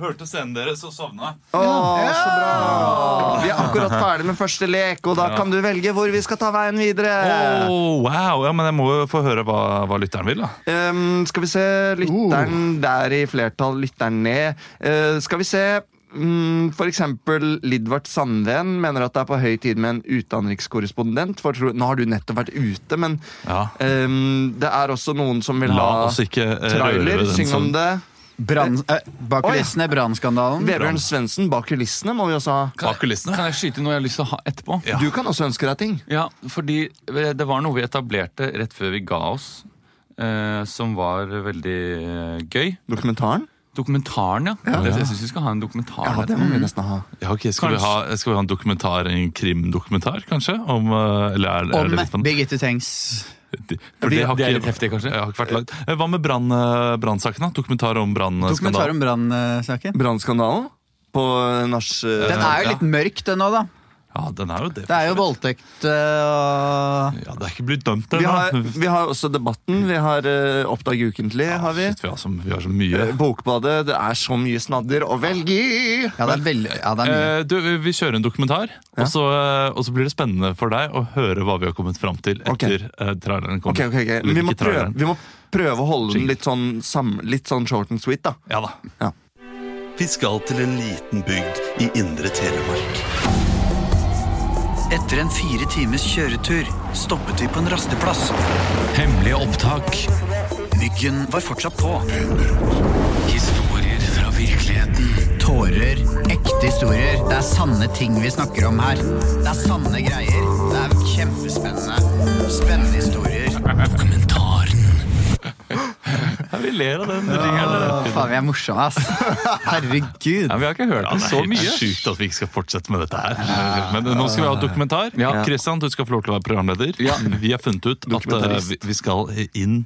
Speaker 1: Hørte scenen deres og sovna.
Speaker 2: Å, så bra! Vi er akkurat ferdig med første lek, og da kan du velge hvor vi skal ta veien videre.
Speaker 1: Oh, wow, ja, men jeg må jo få høre hva, hva lytteren vil, da.
Speaker 2: Ehm, skal vi se
Speaker 1: Oh.
Speaker 2: lytteren der i flertall, lytteren ned. Eh, skal vi se mm, for eksempel Lidvard Sandven mener at det er på høy tid med en utenrikskorrespondent. For tro, nå har du nettopp vært ute, men
Speaker 1: Ja.
Speaker 2: ehm, det er også noen som vil
Speaker 1: La
Speaker 2: ha
Speaker 1: oss ikke eh, røre
Speaker 2: trailer.
Speaker 1: ved den
Speaker 2: Syng om
Speaker 1: sånn.
Speaker 2: det.
Speaker 5: Brann, eh, bak
Speaker 2: Å, ja.
Speaker 5: kulissene, brannskandalen.
Speaker 2: Vebjørn Svendsen bak kulissene må vi også ha.
Speaker 1: Bak kulissene.
Speaker 3: Kan jeg skyte inn noe jeg har lyst til å ha etterpå?
Speaker 1: Ja.
Speaker 2: Du kan også ønske deg ting.
Speaker 3: Ja, fordi eh, det var noe vi etablerte rett før vi ga oss, eh, som var veldig eh, gøy.
Speaker 2: Dokumentaren?
Speaker 3: Dokumentaren, ja. Det- Jeg syns vi skal ha en dokumentar.
Speaker 2: Ja, det må
Speaker 1: Mm.
Speaker 2: vi nesten ha.
Speaker 1: Ja, ok, skal, vi ha, skal vi ha en dokumentar, en krimdokumentar, kanskje? Om, eh, eller er, er det litt
Speaker 5: Om
Speaker 1: sånn-
Speaker 5: Birgitte Tengs.
Speaker 1: For det, har
Speaker 3: det er
Speaker 1: ikke-
Speaker 3: litt heftig, kanskje?
Speaker 1: Jeg har ikke vært lagd. Eh, Hva med brann, eh, brannsaken, da? Dokumentar om
Speaker 5: Dokumentar
Speaker 1: brannskandalen?
Speaker 5: om brannsaken.
Speaker 2: Brannskandalen på eh, nach...
Speaker 5: Den er jo litt mørk, den òg, da.
Speaker 1: Ja, den er jo det.
Speaker 5: Det er jo voldtekt øh, og
Speaker 1: Ja, det er ikke blitt dømt
Speaker 2: Vi
Speaker 1: ennå.
Speaker 2: har, vi har også Debatten, vi har uh, Oppdag ukentlig. har vi.
Speaker 1: Shit, vi har så, vi har så mye.
Speaker 2: Eh, Bokbadet, det er så mye snadder å velge i!
Speaker 5: Ja, det er veldig ja, det er mye.
Speaker 1: Eh, du, vi kjører en dokumentar, og, så, eh, og så blir det spennende for deg å høre hva vi har kommet fram til etter eh, traileren kom.
Speaker 2: Ok, ok, ok.
Speaker 1: Eller
Speaker 2: Vi må
Speaker 1: ikke
Speaker 2: prøve,
Speaker 1: traileren.
Speaker 2: vi må prøve å holde den litt sånn, sam, litt sånn short and sweet, da.
Speaker 1: Ja da.
Speaker 7: Vi skal til en liten bygd i indre Telemark.
Speaker 8: Etter en fire times kjøretur stoppet vi på en rasteplass.
Speaker 9: Hemmelige opptak.
Speaker 8: Myggen var fortsatt på.
Speaker 9: Historier fra virkeligheten.
Speaker 5: Tårer, ekte historier. Det er sanne ting vi snakker om her. Det er sanne greier. Det er kjempespennende. Spennende historier.
Speaker 9: Dokumentaren.
Speaker 3: Ja, vi ler av den. Ja.
Speaker 5: Å, faen, vi er morsomme, ass. Herregud.
Speaker 3: Ja, vi har ikke hørt
Speaker 1: Ja,
Speaker 3: den
Speaker 1: det er
Speaker 3: så
Speaker 1: helt
Speaker 3: mye.
Speaker 1: sjukt at vi ikke skal fortsette med dette her. Men nå skal vi ha dokumentar.
Speaker 3: Ja.
Speaker 1: Kristian, du skal få lov til å være programleder. Vi har funnet ut at eh, vi- vi skal inn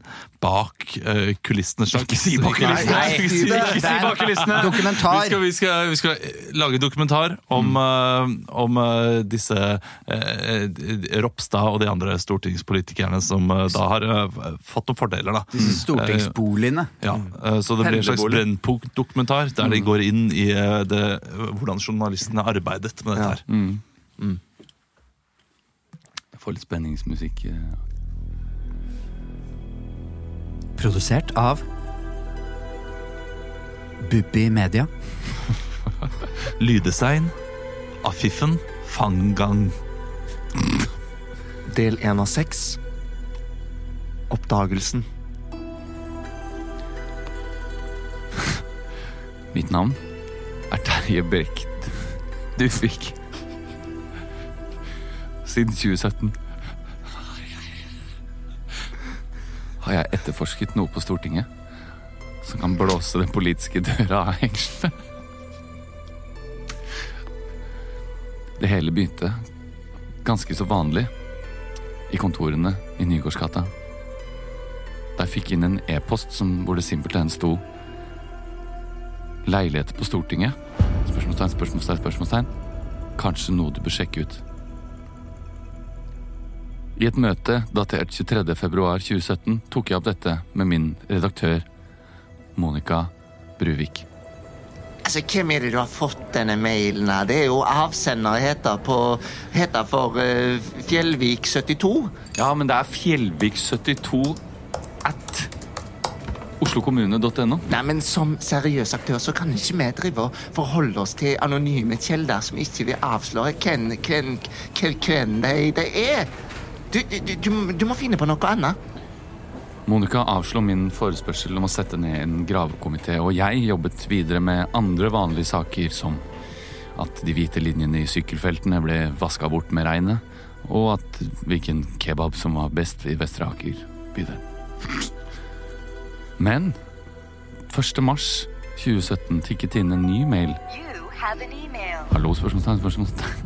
Speaker 1: bak eh, kulissene. Ikke si bak
Speaker 5: kulissene. Nei,
Speaker 1: Ikke si, ikke si bak kulissene!
Speaker 5: Dokumentar.
Speaker 1: Vi skal, vi skal, vi skal lage dokumentar
Speaker 3: Mm.
Speaker 1: om, eh, om eh, disse eh, d- Ropstad og de andre stortingspolitikerne som eh, da har eh, fått noen fordeler, da.
Speaker 5: Disse stortingsboligene.
Speaker 1: Ja,
Speaker 10: Mm.
Speaker 1: eh, så det blir en slags Brennpunkt-dokumentar der de går inn i eh, det, hvordan journalistene arbeidet med dette her.
Speaker 10: Mm.
Speaker 3: Jeg får litt spenningsmusikk. eh.
Speaker 5: Produsert av Bubbi Media.
Speaker 1: Lyddesign, Afiffen, Fangang.
Speaker 2: Del én av seks. Oppdagelsen.
Speaker 3: Mitt navn er Terje Brekt. Du fikk Siden 2017 har jeg etterforsket noe på Stortinget som kan blåse den politiske døra av hengslene. Det hele begynte ganske så vanlig i kontorene i Nygårdsgata. Da jeg fikk inn en e-post som- hvor det simpelthen sto leiligheter på Stortinget? Spørsmålstegn, spørsmålstegn, spørsmålstegn. Kanskje noe du bør sjekke ut. I et møte datert 23.2.2017 tok jeg opp dette med min redaktør Monica Bruvik.
Speaker 4: Altså, Hvem er det du har fått denne mailen av? Det er jo avsender heter på Heter for eh, Fjellvik72.
Speaker 3: Ja, men det er fjellvik72 at oslokommune.no.
Speaker 4: Nei, men som seriøs aktør så kan ikke vi drive og forholde oss til anonyme kjelder som ikke vil avsløre hvem, hvem, hvem, hvem det, det er. Du, du, du- du, må- du må finne på noe annet.
Speaker 3: Monica avslo min forespørsel om å sette ned en gravekomité, og jeg jobbet videre med andre vanlige saker som at de hvite linjene i sykkelfeltene ble vaska bort med regnet, og at hvilken kebab som var best i Vestre Aker bydel. Men 1. mars 2017 tikket inn en ny mail
Speaker 11: You have an email.
Speaker 3: Hallo, spørsmålstegn, spørsmålstegn.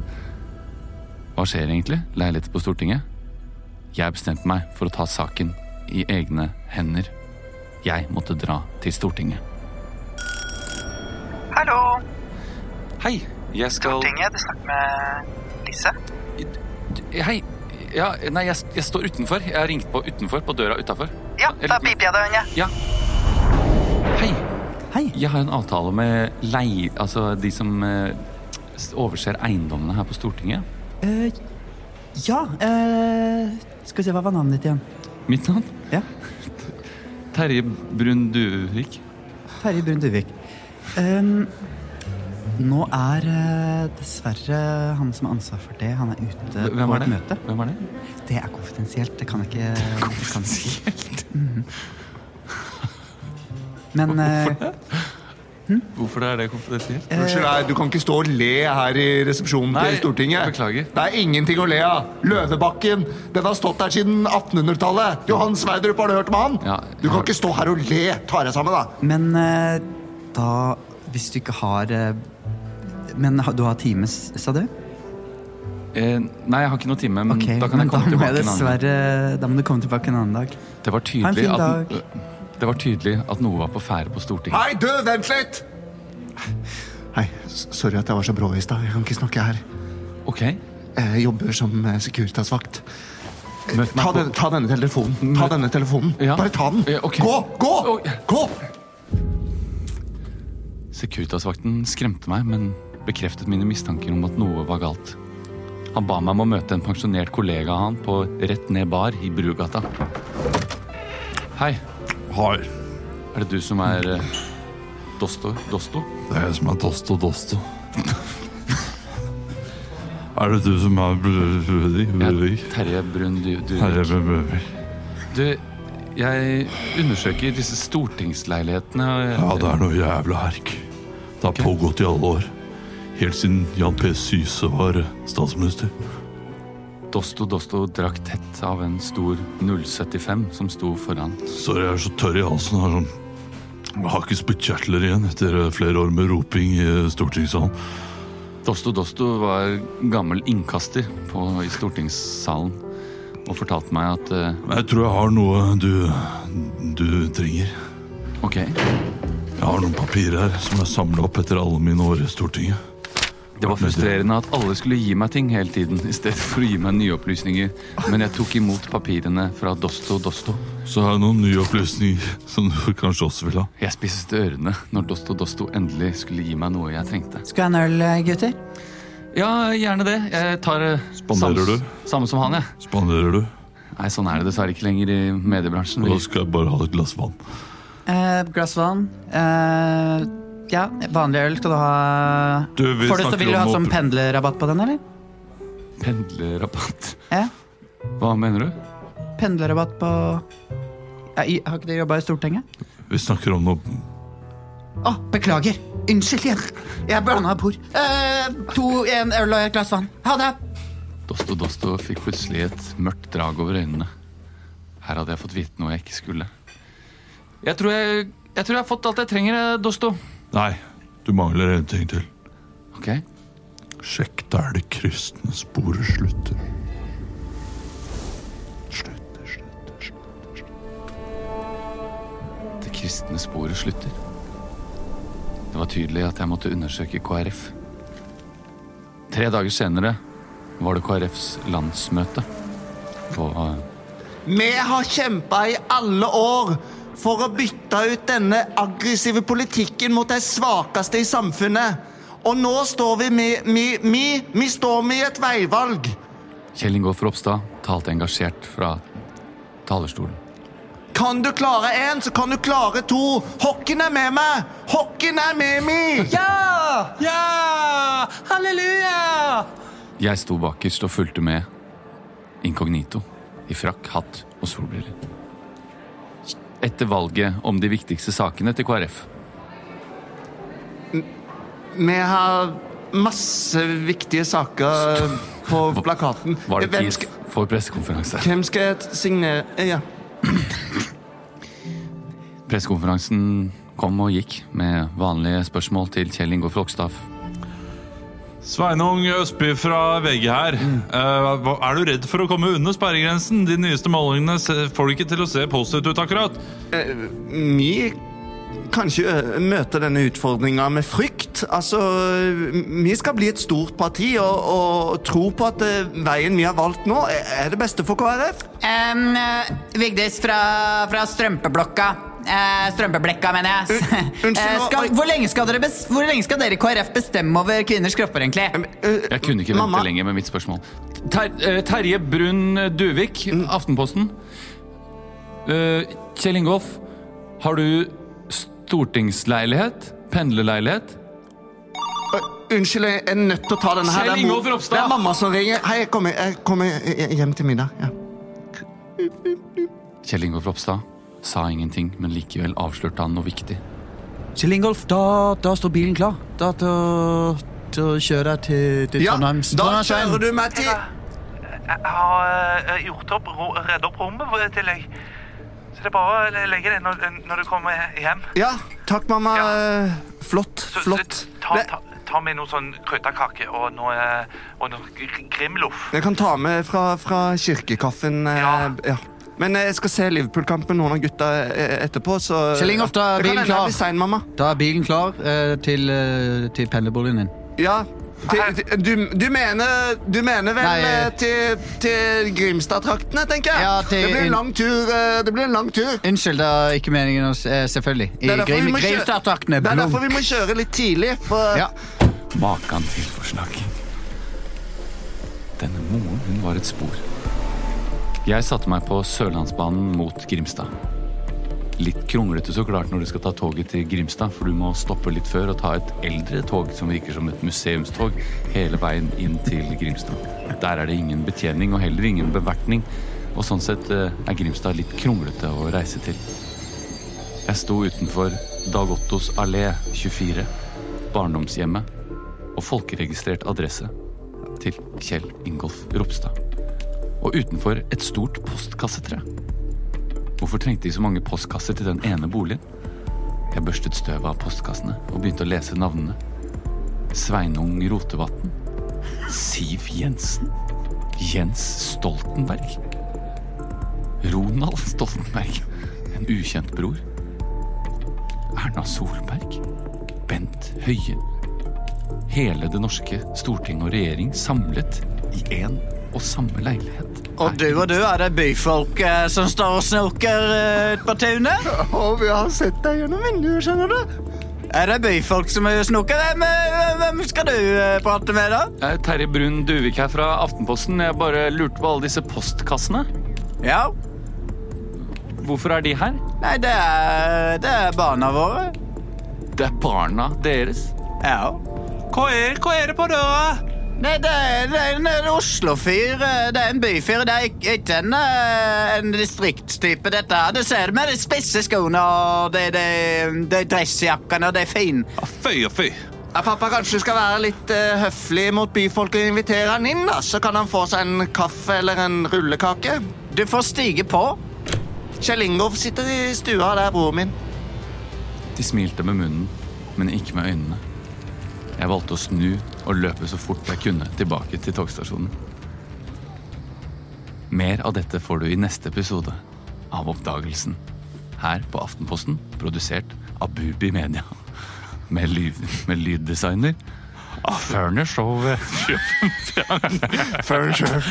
Speaker 3: Hva skjer egentlig? Leiligheter på Stortinget? Jeg bestemte meg for å ta saken i egne hender. Jeg måtte dra til Stortinget.
Speaker 11: Hallo,
Speaker 3: Hei, jeg skal
Speaker 11: Stortinget. Du snakker med Lise.
Speaker 3: Hei. Ja, nei, jeg, jeg står utenfor. Jeg har ringt på utenfor, på døra utafor.
Speaker 11: Ja, da piper jeg deg, Unge.
Speaker 3: Ja. Hei. Jeg har en avtale med lei... Altså de som eh, overser eiendommene her på Stortinget.
Speaker 12: Eh, ja eh, Skal vi se, hva var navnet ditt igjen?
Speaker 3: Mitt navn?
Speaker 12: Ja.
Speaker 3: Terje Brun Duvik.
Speaker 12: Terje Brun Duvik. Ehm, nå er eh, dessverre han som har ansvar for det, han er ute
Speaker 3: Hvem
Speaker 12: på
Speaker 3: er
Speaker 12: et
Speaker 3: det?
Speaker 12: møte.
Speaker 3: Hvem er det?
Speaker 12: Det er konfidensielt. Det kan jeg ikke Konfidensielt? Men eh,
Speaker 3: Hvorfor er det konfidensielt?
Speaker 2: Unnskyld, nei, du kan ikke stå og le her i resepsjonen
Speaker 3: Nei,
Speaker 2: til Stortinget.
Speaker 3: beklager.
Speaker 2: Det er ingenting å le av. Løvebakken, den har stått der siden 1800-tallet. Johan Sverdrup, har du hørt om han?
Speaker 3: Ja,
Speaker 2: Du
Speaker 3: jeg
Speaker 2: kan
Speaker 3: har-
Speaker 2: ikke stå her og le. Ta deg sammen, da.
Speaker 12: Men eh, da Hvis du ikke har eh, Men ha- du har time, s- sa du?
Speaker 3: Eh, nei, jeg har ikke noe time, men
Speaker 12: Ok,
Speaker 3: da kan
Speaker 12: men
Speaker 3: jeg komme tilbake
Speaker 12: da må jeg
Speaker 3: en annen gang.
Speaker 12: dessverre Da må du komme tilbake en annen dag.
Speaker 3: Det var
Speaker 12: Ha en
Speaker 3: tydelig
Speaker 12: fin
Speaker 3: at, øh,
Speaker 12: dag.
Speaker 3: det var tydelig at noe var på ferde på Stortinget.
Speaker 2: Hei, du, vent litt! Hei, s- sorry at jeg var så brå i stad. Jeg kan ikke snakke her.
Speaker 3: Ok,
Speaker 2: Jeg jobber som eh, Securitas-vakt.
Speaker 3: møt
Speaker 2: Ta,
Speaker 3: meg på
Speaker 2: den, ta denne telefonen. Ta denne telefonen.
Speaker 3: Ja.
Speaker 2: Bare ta den.
Speaker 3: Ja, ok.
Speaker 2: Gå! Gå!
Speaker 3: Oi.
Speaker 2: Gå!
Speaker 3: Securitas-vakten skremte meg, men bekreftet mine mistanker om at noe var galt. Han ba meg om å møte en pensjonert kollega av han på Rett Ned Bar i Brugata. Hei,
Speaker 10: Har.
Speaker 3: er det du som er eh, Dosto? Dosto?
Speaker 10: Det er jeg som er Dosto Dosto. [LAUGHS] er det du som er Br- Bruvik? Bruvik?
Speaker 3: Terje Brun du, du,
Speaker 10: Herre med Bruvik.
Speaker 3: du, jeg undersøker disse stortingsleilighetene. og jeg-
Speaker 10: Ja, det er noe jævla herk. Det har pågått i alle år. Helt siden Jan P. Syse var eh, statsminister.
Speaker 3: Dosto Dosto drakk tett av en stor 075 som sto foran.
Speaker 10: Sorry, jeg er så tørr i halsen. Jeg, er sånn. jeg har ikke spyttkjertler igjen etter eh, flere år med roping i eh, stortingssalen.
Speaker 3: Dosto Dosto var gammel innkaster på, i stortingssalen og fortalte meg at eh,
Speaker 10: Men jeg tror jeg har noe du, du trenger.
Speaker 3: Ok,
Speaker 10: Jeg har noen papirer her som jeg samla opp etter alle mine år i Stortinget.
Speaker 3: det var frustrerende at alle skulle gi meg ting hele tiden i stedet for å gi meg nye opplysninger, men jeg tok imot papirene fra Dosto Dosto.
Speaker 10: Så har jeg noen nye opplysninger [LAUGHS] som du kanskje også vil ha.
Speaker 3: Jeg spiste ørene når Dosto Dosto endelig skulle gi meg noe jeg trengte.
Speaker 12: Skal jeg ha en øl, eh, gutter?
Speaker 3: Ja, gjerne det. Jeg tar eh,
Speaker 10: Spanderer
Speaker 3: samme,
Speaker 10: du?
Speaker 3: samme som han, jeg.
Speaker 10: Spanderer du?
Speaker 3: Nei, sånn er det dessverre ikke lenger i mediebransjen.
Speaker 10: Og da
Speaker 3: Vi-
Speaker 10: skal jeg bare ha et glass vann.
Speaker 12: Eh, glass vann. Eh, ja, vanlig øl skal du ha.
Speaker 10: Du, vi
Speaker 12: Får du, så
Speaker 10: snakker
Speaker 12: vil du ha
Speaker 10: om
Speaker 12: sånn
Speaker 10: opp-
Speaker 12: pendlerrabatt på den, eller?
Speaker 3: Pendlerrabatt.
Speaker 12: Ja.
Speaker 3: Hva mener du?
Speaker 12: Pendlerrabatt på ja, i, Har ikke dere jobba i Stortinget?
Speaker 10: Vi snakker om noe
Speaker 12: Å, beklager! Unnskyld igjen. Jeg blanda bord. Eh, to, en øl og et glass vann. Ha det!
Speaker 3: Dosto Dosto fikk plutselig et mørkt drag over øynene. Her hadde jeg fått vite noe jeg ikke skulle. Jeg tror jeg, jeg, tror jeg har fått alt jeg trenger, eh, Dosto.
Speaker 10: Nei, du mangler en ting til.
Speaker 3: Ok,
Speaker 10: Sjekk der det kristne sporet slutter.
Speaker 3: Det kristne sporet slutter. Det var tydelig at jeg måtte undersøke KrF. Tre dager senere var det KrFs landsmøte. På
Speaker 2: Vi har kjempa i alle år for å bytte ut denne aggressive politikken mot de svakeste i samfunnet. Og nå står vi med Vi, vi, vi står med i et veivalg.
Speaker 3: Kjell Ingolf Ropstad talte engasjert fra talerstolen.
Speaker 2: Kan du klare én, så kan du klare to. Hokken er med meg! Hokken er med meg!
Speaker 12: Ja! Ja! Halleluja!
Speaker 3: Jeg sto bakerst og fulgte med. Inkognito. I frakk, hatt og solbriller. Etter valget om de viktigste sakene til KrF.
Speaker 2: Vi har masse viktige saker på plakaten.
Speaker 3: Var det
Speaker 2: Hvem
Speaker 3: tid
Speaker 2: skal,
Speaker 3: for pressekonferanse?
Speaker 2: hvem skal jeg signere Eh, Ja.
Speaker 3: Pressekonferansen kom og gikk med vanlige spørsmål til Kjell Ingolf Flokstad.
Speaker 1: Sveinung Østby fra VG her. Eh, hva- er du redd for å komme under sperregrensen? De nyeste målingene se- får det ikke til å se positivt ut akkurat.
Speaker 2: Vi kanskje ø, møte denne utfordringa med frykt. Altså, vi skal bli et stort parti og, og tro på at ø, veien vi har valgt nå, er er det beste for KrF.
Speaker 13: Em, eh, Vigdis fra, fra strømpeblokka. Eh, strømpeblekka, mener jeg. Eh,
Speaker 2: nå,
Speaker 13: skal, hvor, lenge skal dere bes, hvor lenge skal dere i KrF bestemme over kvinners kropper, egentlig?
Speaker 3: Jeg kunne ikke vente lenger med mitt spørsmål. Ter, eh, Terje Brun Duvik,
Speaker 2: Mm.
Speaker 3: Aftenposten. Eh, Kjell Ingolf, har du stortingsleilighet? Pendlerleilighet?
Speaker 2: Unnskyld, jeg er nødt til å ta denne her.
Speaker 3: Kjell
Speaker 2: Det er mor-
Speaker 3: Ingolf Ropstad.
Speaker 2: Det er mamma som ringer. Hei, jeg kommer, jeg kommer hjem til middag. Ja.
Speaker 3: Kjell Ingolf Ropstad sa ingenting, men likevel avslørte han noe viktig.
Speaker 5: Kjell Ingolf, da, da står bilen klar. Da til, til å kjøre deg til, til Trondheim. Trondheimsveien.
Speaker 14: Jeg har eh, gjort opp, ro- reddet opp rommet til deg. Så det er bare å legge det når, når du kommer hjem.
Speaker 2: ja, takk, mamma. Flott. Flott.
Speaker 14: Ta, ta, ta med noe sånn krøtterkake og noe, eh, og noe gr- grimloff.
Speaker 2: Jeg kan ta med fra, fra kirkekaffen. eh, Ja. Men eh, jeg skal se Liverpool-kampen noen av gutta eh, etterpå, så
Speaker 5: Kjell Ingolf, da er
Speaker 2: Det kan
Speaker 5: bilen
Speaker 2: hende jeg
Speaker 5: klar.
Speaker 2: blir sein, mamma.
Speaker 5: Da er bilen klar eh, til, eh, til pendlerboligen din.
Speaker 2: Ja. Til, til, du, du, mener, du mener vel
Speaker 5: Nei, eh,
Speaker 2: eh, til, til Grimstad-traktene, tenker jeg?
Speaker 5: til-
Speaker 2: det, blir en lang tur, eh, det blir en lang tur.
Speaker 5: Unnskyld, det er ikke meningen å s- eh, Selvfølgelig. I
Speaker 2: Det er derfor vi
Speaker 5: Grim-
Speaker 2: må kjøre-
Speaker 5: Grimstad-traktene.
Speaker 2: Det er
Speaker 5: blunk.
Speaker 2: derfor vi må kjøre litt tidlig. For
Speaker 5: Ja.
Speaker 3: Makan til forslag. Denne moren, hun var et spor. Jeg satte meg på Sørlandsbanen mot Grimstad. Litt kronglete så klart når du skal ta toget til Grimstad, for du må stoppe litt før og ta et eldre tog som virker som et museumstog, hele veien inn til Grimstad. Der er det ingen betjening og heller ingen bevertning, og sånn sett eh, er Grimstad litt kronglete å reise til. Jeg sto utenfor Dag Ottos allé 24, barndomshjemmet og folkeregistrert adresse til Kjell Ingolf Ropstad. Og utenfor et stort postkassetre. Hvorfor trengte de så mange postkasser til den ene boligen? Jeg børstet støvet av postkassene og begynte å lese navnene. Sveinung Rotevatn. Siv Jensen. Jens Stoltenberg. Ronald Stoltenberg. En ukjent bror. Erna Solberg. Bent Høie hele det norske storting og regjering samlet i én og samme leilighet.
Speaker 5: Og du og du, er det byfolk eh, som står og snoker eh, ute på tunet?
Speaker 2: Og vi har sett deg gjennom vinduet, skjønner du.
Speaker 5: Er det byfolk som eh, snoker? Hvem, eh, hvem skal du eh, prate med, da?
Speaker 3: Eh, Terje Brun Duvik her fra Aftenposten. Jeg bare lurte på alle disse postkassene.
Speaker 5: Ja?
Speaker 3: Hvorfor er de her?
Speaker 5: Nei, det er, det er barna våre.
Speaker 3: Det er barna deres?
Speaker 5: Ja.
Speaker 14: Hva er, hva er det på døra?
Speaker 5: Nei, det er, det er en, en Oslo-fyr. eh, Det er en byfyr. Det er ikk- ikke en, eh, en distriktstype, dette. her. Du ser det med de spisse skoene og de, de, de dressjakkene og de fin.
Speaker 1: Fy og fy.
Speaker 2: Ja, pappa kanskje skal være litt eh, høflig mot byfolk og invitere han inn, da. Så kan han få seg en kaffe eller en rullekake.
Speaker 5: Du får stige på.
Speaker 2: Kjell Ingolf sitter i stua, det er broren min.
Speaker 3: De smilte med munnen, men ikke med øynene. Jeg valgte å snu og løpe så fort jeg kunne tilbake til togstasjonen. Mer av dette får du i neste episode av Oppdagelsen. Her på Aftenposten, produsert av Bubi Media. Med, lyd, med lyddesigner Furnish of
Speaker 2: Furnish.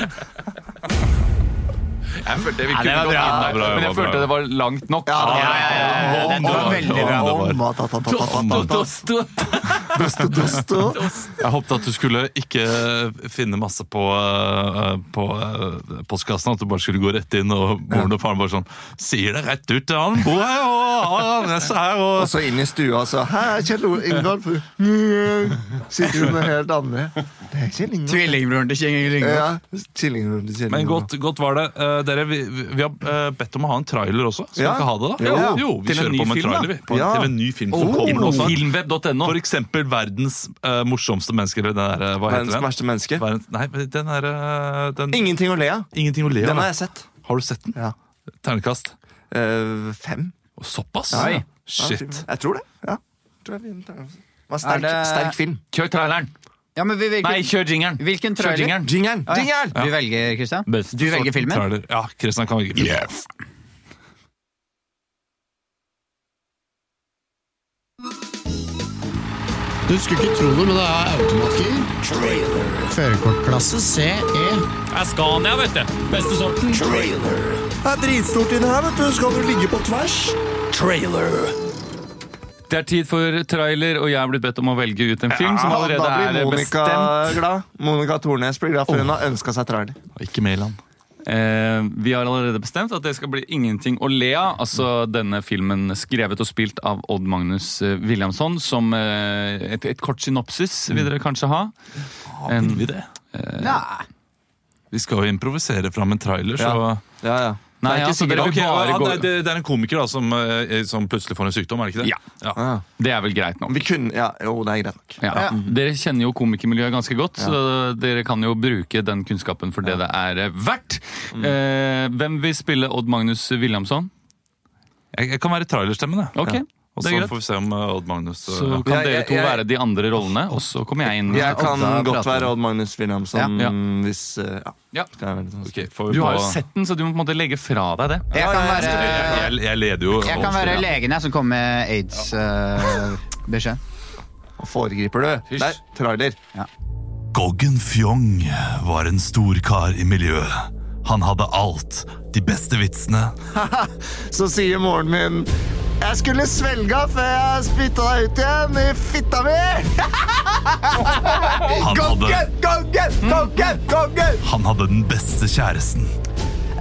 Speaker 3: Jeg følte vi
Speaker 2: Ja, det
Speaker 3: kunne
Speaker 2: var
Speaker 3: gått
Speaker 2: bra. Ja, det var
Speaker 3: inn der,
Speaker 2: bra,
Speaker 3: men jeg
Speaker 2: det var
Speaker 3: følte
Speaker 2: bra.
Speaker 3: det var langt nok.
Speaker 2: Ja, ja, ja, ja, ja, det var veldig bra.
Speaker 1: Jeg håpet at du skulle ikke finne masse på, eh, på eh, postkassen. At du bare skulle gå rett inn, og moren og faren bare sånn Sier det rett ut til han! Bor her og har adresse her! Og,
Speaker 2: så inn i stua, så Her er Kjell Ingolf. Sitter hun med helt andre. Det er Kjell Ingolf.
Speaker 5: Tvillingbroren til Kjell
Speaker 2: Ja, tvillingbroren til Kjell
Speaker 1: Men
Speaker 2: Ingolf.
Speaker 1: godt, godt var det. Eh, dere, vi, vi vi har eh, bedt om å ha en trailer også. Skal
Speaker 2: Ja.
Speaker 1: vi ikke ha det, da?
Speaker 2: Jo.
Speaker 1: Jo, vi
Speaker 2: Til en
Speaker 1: kjører
Speaker 2: ny
Speaker 1: på med
Speaker 2: film,
Speaker 1: trailer.
Speaker 2: da.
Speaker 1: Vi, på,
Speaker 2: Ja.
Speaker 1: Til en ny film som
Speaker 2: Oh.
Speaker 1: kommer nå snart.
Speaker 3: Filmweb.no.
Speaker 1: For eksempel verdens eh, morsomste menneske. Eller den der, eh, hva
Speaker 2: Verdens
Speaker 1: heter den?
Speaker 2: verste menneske.
Speaker 1: Verdens, nei, men den er eh, den,
Speaker 2: Ingenting å le av.
Speaker 1: Ingenting å le av.
Speaker 2: Den har jeg sett.
Speaker 1: Har du sett den?
Speaker 2: Ja.
Speaker 1: Ternekast?
Speaker 2: fem.
Speaker 1: Såpass?
Speaker 2: Ja, ja.
Speaker 1: Shit.
Speaker 2: Jeg tror det. Ja. Tror jeg vi- Det var sterk, sterk film.
Speaker 3: Kjør traileren!
Speaker 5: Ja, men vi, hvilken,
Speaker 3: Nei, kjør jingeren.
Speaker 5: Hvilken
Speaker 3: Kjør
Speaker 5: trailer?
Speaker 3: jingeren.
Speaker 2: Jingeren,
Speaker 5: Å, ja.
Speaker 2: jingeren.
Speaker 5: Du velger, Christian?
Speaker 1: Best
Speaker 5: Du velger
Speaker 1: forstått
Speaker 5: filmen?
Speaker 1: trailer. Ja, Kristian kan velge filmen.
Speaker 15: Du skulle ikke tro det, men det er automatgir. Førerkortklasse CE.
Speaker 3: Scania, vet du. Beste sorten.
Speaker 15: Det er dritstort inni her, vet du. Skal du ligge på tvers? Trailer.
Speaker 3: Det er tid for trailer, og jeg er blitt bedt om å velge ut en film som
Speaker 2: Ja,
Speaker 3: allerede
Speaker 2: da blir
Speaker 3: er
Speaker 2: Monica
Speaker 3: bestemt.
Speaker 2: glad. Monica Tornes blir glad, for hun har ønska seg trailer.
Speaker 1: Ikke Mæland.
Speaker 3: Eh, vi har allerede bestemt at det skal bli ingenting å le av. Altså denne filmen skrevet og spilt av Odd Magnus eh, Williamson. Som eh, et, et kort synopsis vil dere kanskje ha. Mm.
Speaker 1: vil vi det?
Speaker 3: Eh,
Speaker 5: Nei.
Speaker 1: Vi skal jo improvisere fram en trailer, så det,
Speaker 3: Nei,
Speaker 1: er ikke
Speaker 3: altså,
Speaker 1: sikkert-
Speaker 3: dere vil
Speaker 1: Ok,
Speaker 3: bare
Speaker 1: ja,
Speaker 3: gå-
Speaker 1: det, det, det er en komiker da, som, eh, som plutselig får en sykdom, er det ikke det?
Speaker 3: Ja. Det er vel greit nok.
Speaker 2: jo, det er greit nok.
Speaker 3: Ja.
Speaker 1: Mhm.
Speaker 3: Dere kjenner jo komikermiljøet ganske godt, så dere kan jo bruke den kunnskapen for det det er eh, verdt.
Speaker 1: Mm.
Speaker 3: Eh, hvem vil spille Odd Magnus Williamson?
Speaker 1: Jeg, jeg kan være trailerstemmen, jeg.
Speaker 3: Ok,
Speaker 1: Ja. Og
Speaker 3: det
Speaker 1: så
Speaker 3: er greit.
Speaker 1: får vi se om eh, Odd Magnus eh,
Speaker 3: Så
Speaker 1: ja.
Speaker 3: kan dere to
Speaker 2: jeg-
Speaker 3: være de andre rollene, og så kommer jeg inn.
Speaker 2: Jeg kan
Speaker 3: Og da
Speaker 2: godt
Speaker 3: prater vi.
Speaker 2: være Odd Magnus Williamson
Speaker 3: Ja.
Speaker 2: hvis eh, ja.
Speaker 3: Ja.
Speaker 2: Skal jeg være litt sånn.
Speaker 3: Du har jo sett den, så du må på en måte legge fra deg det.
Speaker 5: Jeg kan være,
Speaker 1: jeg, jeg leder jo
Speaker 5: jeg kan være legen jeg, som kommer med eh, aids-beskjed.
Speaker 2: Foregriper du? Der, trailer.
Speaker 10: Goggen Fjong var en stor kar i miljøet. Han hadde alt. De beste vitsene.
Speaker 2: Så sier moren min Jeg skulle svelga før jeg spytta deg ut igjen i fitta mi!
Speaker 10: Han hadde- Hmm?
Speaker 2: Gongen, gongen, gongen, gongen!
Speaker 10: Han hadde den beste kjæresten.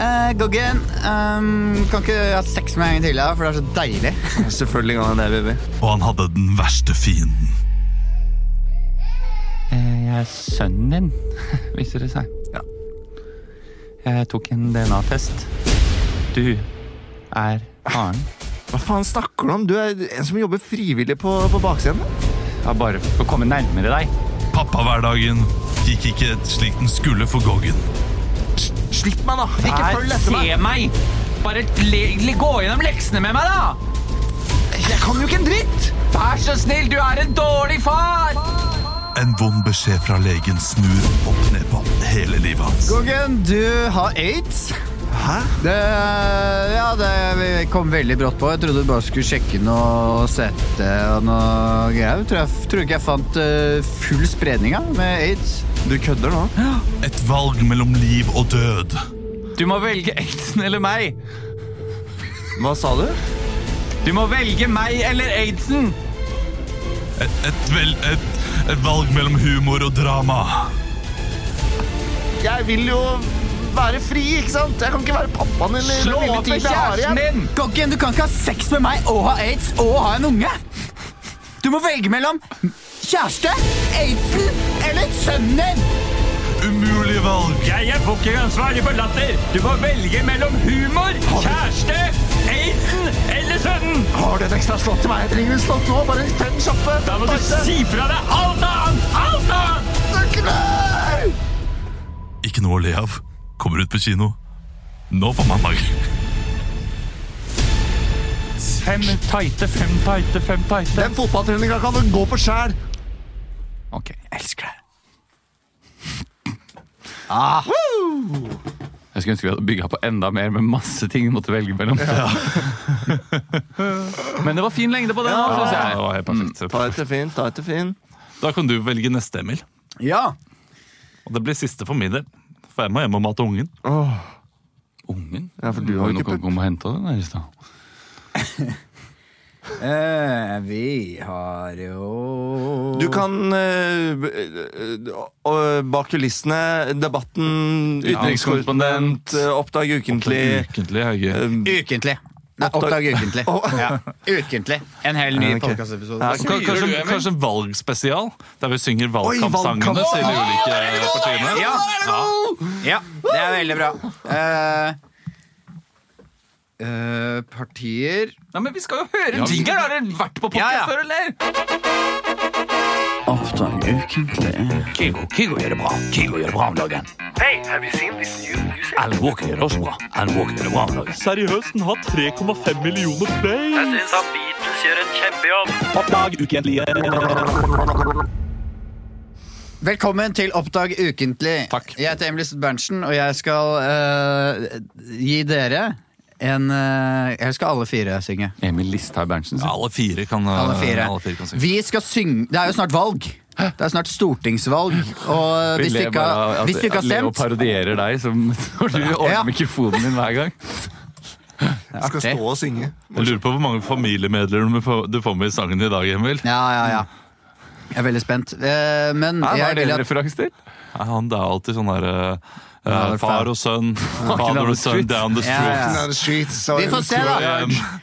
Speaker 5: Eh, Goggen, ehm, kan ikke jeg ha sex med en gang til, da, for det er så deilig?
Speaker 2: [LAUGHS] Selvfølgelig kan han det, baby.
Speaker 10: Og han hadde den verste fienden.
Speaker 3: Eh, Jeg er sønnen din, viser det seg. Jeg tok en DNA-test. Du er faren.
Speaker 2: Hva faen snakker du om? Du er en som jobber frivillig på, på baksiden.
Speaker 3: Ja, bare for å komme nærmere deg.
Speaker 10: Pappahverdagen gikk ikke slik den skulle for Goggen.
Speaker 2: Slipp meg, da!
Speaker 3: Nei, Se meg! Bare le, le, gå gjennom leksene med meg, da!
Speaker 2: Jeg kan jo ikke en dritt!
Speaker 3: Vær så snill, du er en dårlig far!
Speaker 10: En vond beskjed fra legen snur opp ned på hele livet hans.
Speaker 5: Goggen, du har aids. Hæ? Det, eh, ja, det kom veldig brått på. Jeg trodde du bare skulle sjekke noe sette og noe greier. Jeg tror, jeg, tror ikke jeg fant eh, full spredning av med aids.
Speaker 2: Du kødder nå?
Speaker 10: Et valg mellom liv og død.
Speaker 3: Du må velge aidsen eller meg.
Speaker 2: Hva sa du?
Speaker 3: Du må velge meg eller aidsen.
Speaker 10: Et, et, vel, et, et valg mellom humor og drama.
Speaker 2: Jeg vil jo være fri, ikke sant? Jeg kan ikke være pappaen eller
Speaker 5: Slå
Speaker 2: den lille
Speaker 5: opp med
Speaker 2: tigre Are igjen.
Speaker 5: kjæresten din! Goggen, du kan ikke ha sex med meg og ha aids og ha en unge! Du må velge mellom kjæreste, aidsen eller sønnen din!
Speaker 10: Umulige valg.
Speaker 6: Jeg er bookingansvarlig for Latter. Du må velge mellom humor, kjæreste, aidsen eller sønnen.
Speaker 2: Har du et ekstra slott til meg? Jeg trenger en slott nå. Bare fem kjappe.
Speaker 6: Da må du
Speaker 2: Takk.
Speaker 6: si fra deg alt annet! Alt annet!
Speaker 10: Ikke noe å le av. Kommer ut på kino. Nå på mandag.
Speaker 6: Fem tighte, fem tighte, fem tighte.
Speaker 2: Den fotballtreninga kan du gå på sjæl.
Speaker 3: Ok, jeg elsker deg. Jeg skulle ønske vi hadde bygga på enda mer med masse ting vi måtte velge mellom. [LAUGHS] Men det var fin lengde på den. altså,
Speaker 2: Ja,
Speaker 3: synes
Speaker 1: Ja, det
Speaker 3: jeg.
Speaker 1: var helt perfekt.
Speaker 2: Ta etter Finn, ta etter Finn.
Speaker 1: Da kan du velge neste, Emil.
Speaker 5: Ja.
Speaker 1: Og det blir siste for min del. For jeg må hjem og mate ungen.
Speaker 3: Ungen?
Speaker 2: Ja, for du har jo
Speaker 3: Nå
Speaker 2: ikke
Speaker 3: kan du komme og hente den her i stad.
Speaker 5: Eh, vi har jo
Speaker 2: Du kan eh, b- eh, eh, bak kulissene, debatten, utenrikskorrespondent, eh, Oppdag ukentlig
Speaker 1: Ukentlig er gøy.
Speaker 5: Ukentlig. Nei, oppdag ukentlig. Ja. Ukentlig. En hel ny
Speaker 2: Ja, ok.
Speaker 5: podcastepisode.
Speaker 2: Ja,
Speaker 1: Ka-
Speaker 2: ok.
Speaker 1: Kanskje, kanskje en valgspesial, der vi synger
Speaker 2: valgkamp.
Speaker 1: valgkampsangene til de ulike partiene.
Speaker 5: Ja. ja, det er veldig bra. Eh, eh, partier
Speaker 3: Ja, men vi skal jo høre
Speaker 5: Ja, vi-
Speaker 3: jingeren! Har dere vært på podcast
Speaker 5: Ja, ja.
Speaker 3: før, eller?
Speaker 5: Oppdag ukentlig.
Speaker 9: Kigo, Kigo gjør det bra. Kigo gjør det bra om dagen.
Speaker 14: Hey, have you seen this new music?
Speaker 9: Alan Walker gjør det også bra. Alan Walker gjør det bra om dagen.
Speaker 6: Seriøst, den har 3,5 millioner play. Jeg syns at Beatles gjør en kjempejobb. Oppdag ukentlige
Speaker 5: Velkommen til Oppdag ukentlig. Jeg heter Emily Berntsen, og jeg skal eh, gi dere en eh, Jeg skal alle fire synge.
Speaker 3: Emil Listhaug Berntsen.
Speaker 1: Ja, alle fire kan eh,
Speaker 5: Alle fire.
Speaker 1: alle fire kan synge.
Speaker 5: Vi skal synge Det er jo snart valg. Det er snart stortingsvalg. Og eh, hvis du ikke har, hvis du ikke har
Speaker 3: Leo
Speaker 5: stemt
Speaker 3: parodierer deg som når du ordner mikrofonen din hver gang.
Speaker 2: Du skal stå og synge.
Speaker 1: Jeg lurer på hvor mange familiemedlemmer du får- du får med i sangen i dag, Emil.
Speaker 5: Ja, ja, ja. Jeg er veldig spent. Eh, men
Speaker 1: Hæ, hva er
Speaker 5: jeg
Speaker 1: det
Speaker 5: vil
Speaker 1: en
Speaker 5: at
Speaker 1: referanse til? Nei, han, det er alltid sånn derre
Speaker 5: Ja, det er
Speaker 1: Far og
Speaker 5: [LAUGHS]
Speaker 1: sønn, father
Speaker 5: the
Speaker 1: og sønn
Speaker 5: streets.
Speaker 1: down the
Speaker 5: Ja,
Speaker 1: street.
Speaker 5: ja. Down the Vi får se, da.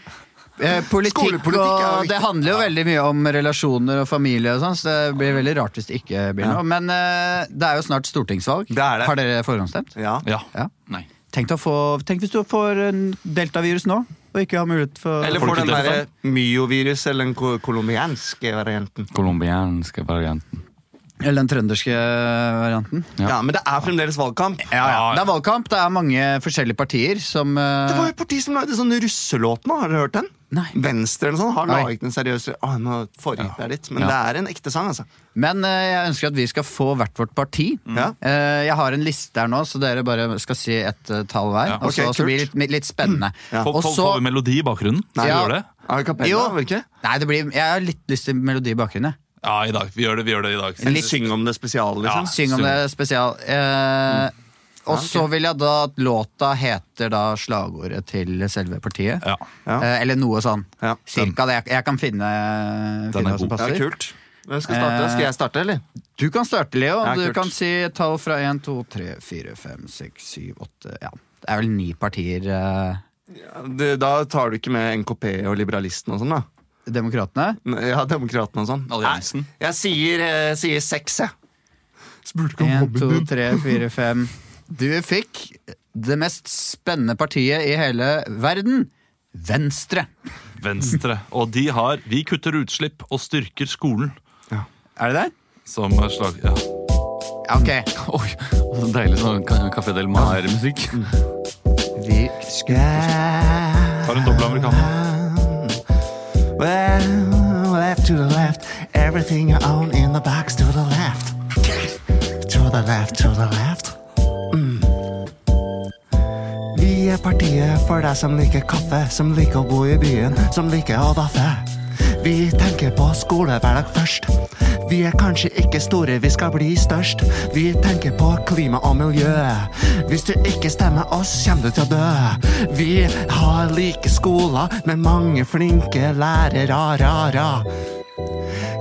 Speaker 5: Eh, Politikk
Speaker 1: Skolepolitikk er
Speaker 5: og Det handler jo veldig mye om relasjoner og familie, og sånn, så det blir veldig rart hvis det ikke blir noe. Men eh, det er jo snart stortingsvalg. Har dere forhåndsstemt?
Speaker 2: Ja.
Speaker 5: Ja.
Speaker 3: Nei.
Speaker 5: Tenk, deg å få, tenk hvis du får en deltavirus nå, og ikke har mulighet for
Speaker 2: Eller får den derre myovirus eller den ko- colombianske varianten.
Speaker 3: Colombianske varianten.
Speaker 5: Eller den trønderske varianten.
Speaker 2: Ja. men det er fremdeles valgkamp.
Speaker 5: Det er valgkamp, det er mange forskjellige partier som eh,
Speaker 2: Det var jo et parti som lagde sånn russelåt nå, har dere hørt den? Venstre eller sånn har
Speaker 5: Nei.
Speaker 2: laget en seriøs Å, nå foregikk jeg litt, men
Speaker 5: Ja.
Speaker 2: det er en ekte sang, altså.
Speaker 5: Men eh, jeg ønsker at vi skal få hvert vårt parti.
Speaker 2: Mm.
Speaker 5: Eh, jeg har en liste her nå, så dere bare skal si et eh, tall hver.
Speaker 1: Ja.
Speaker 5: Og så
Speaker 1: Ok,
Speaker 5: så blir det
Speaker 1: kult.
Speaker 5: litt, litt spennende.
Speaker 2: Mm.
Speaker 1: Får,
Speaker 5: Og
Speaker 1: får,
Speaker 5: så-
Speaker 1: får vi melodi i bakgrunnen? Skal vi
Speaker 5: Ja.
Speaker 1: gjøre det?
Speaker 5: Jo. Nei, det blir, jeg har litt lyst til melodi i bakgrunnen. jeg.
Speaker 1: Ja, i dag. Vi gjør det, vi gjør det i dag.
Speaker 5: En litt-
Speaker 2: Syng om det spesiale,
Speaker 1: Ja,
Speaker 2: liksom.
Speaker 5: Syng om det spesial.
Speaker 2: Mm.
Speaker 5: Eh, Og så vil jeg da at låta heter da slagordet til selve partiet. Eh, eller noe sånn. Cirka det. Jeg, jeg kan finne, finne hva som passer.
Speaker 2: Ja, kult. Hvem skal starte?
Speaker 5: Eh,
Speaker 2: Skal jeg starte, eller?
Speaker 5: Du kan starte, Leo.
Speaker 2: Ja,
Speaker 5: du
Speaker 2: kult.
Speaker 5: kan si et tall fra 1, 2, 3, 4, 5, 6, 7, 8 Ja, det er vel ni partier. eh,
Speaker 2: Ja, det, da tar du ikke med NKP og liberalistene og sånn, da?
Speaker 5: Demokratene?
Speaker 2: Ja, demokratene og sånn.
Speaker 3: Alliansen.
Speaker 2: Jeg sier, eh, sier seks, jeg. Spurte
Speaker 5: 1, 2, 3, 4, 5 Du fikk det mest spennende partiet i hele verden. Venstre.
Speaker 1: Venstre. Og de har 'Vi kutter utslipp og styrker skolen'.
Speaker 5: Er det det?
Speaker 1: Som er slag... Ja.
Speaker 5: Ok.
Speaker 3: Oi, så deilig sånn Ka- Café Del Mar-musikk.
Speaker 5: Vi
Speaker 1: Har en dobbel amerikaner.
Speaker 4: Well, left to the left. Everything you own in the box to the left. To the left, to the left. Mm. Vi er partiet for deg som liker kaffe, som liker å bo i byen, som liker å daffe. Vi tenker på skolehverdag først. Vi er kanskje ikke store, vi skal bli størst. Vi tenker på klima og miljø. Hvis du ikke stemmer oss, kommer du til å dø. Vi har like skoler med mange flinke lærere, ra, ra.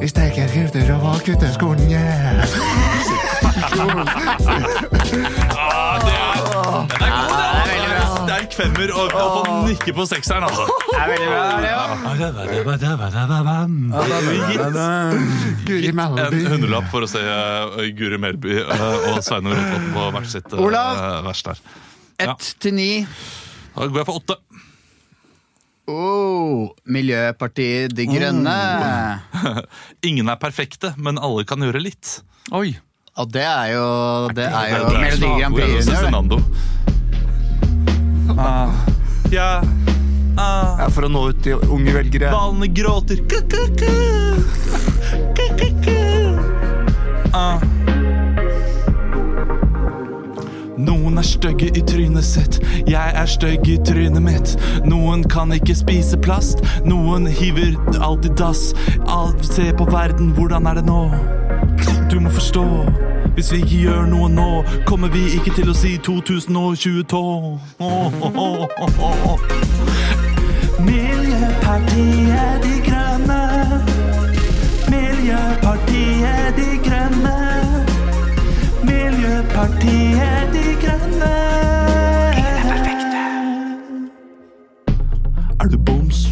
Speaker 4: Vi steker kutter og kutter skolen, yeah.
Speaker 1: Ah, det er, den er god, den! Det er en sterk femmer og, og få nikke på sekseren, altså.
Speaker 5: Det er veldig bra,
Speaker 1: Gitt en hundrelapp for å se eh, Guri Melby eh, og Sveinung Rotevatn på hvert sitt eh,
Speaker 5: Olav.
Speaker 1: vers der. Ja.
Speaker 5: Ett til ni.
Speaker 1: Da går jeg for åtte. [LAUGHS]
Speaker 5: Oh, Miljøpartiet De Grønne.
Speaker 2: Mm.
Speaker 1: Ingen er perfekte, men alle kan gjøre litt.
Speaker 5: Oi. Og det er jo Det er jo
Speaker 1: Det er
Speaker 5: Melodi Grand Prix
Speaker 1: slagordet til
Speaker 5: Junior.
Speaker 1: Cezinando. Ja.
Speaker 2: Ja, for å nå ut til unge velgere.
Speaker 1: Hvalene gråter. Ku-ku-ku. Ku-ku-ku. Ah. Noen er stygge i trynet sitt, jeg er stygg i trynet mitt. Noen kan ikke spise plast, noen hiver alt i dass. Al- Se på verden, hvordan er det nå? Du må forstå. Hvis vi ikke gjør noe nå, kommer vi ikke til å si 2022. Åh, åh, åh, åh, åh.
Speaker 9: Miljøpartiet De Grønne. Miljøpartiet De Grønne. Miljøpartiet De Grønne.
Speaker 1: Er du boms,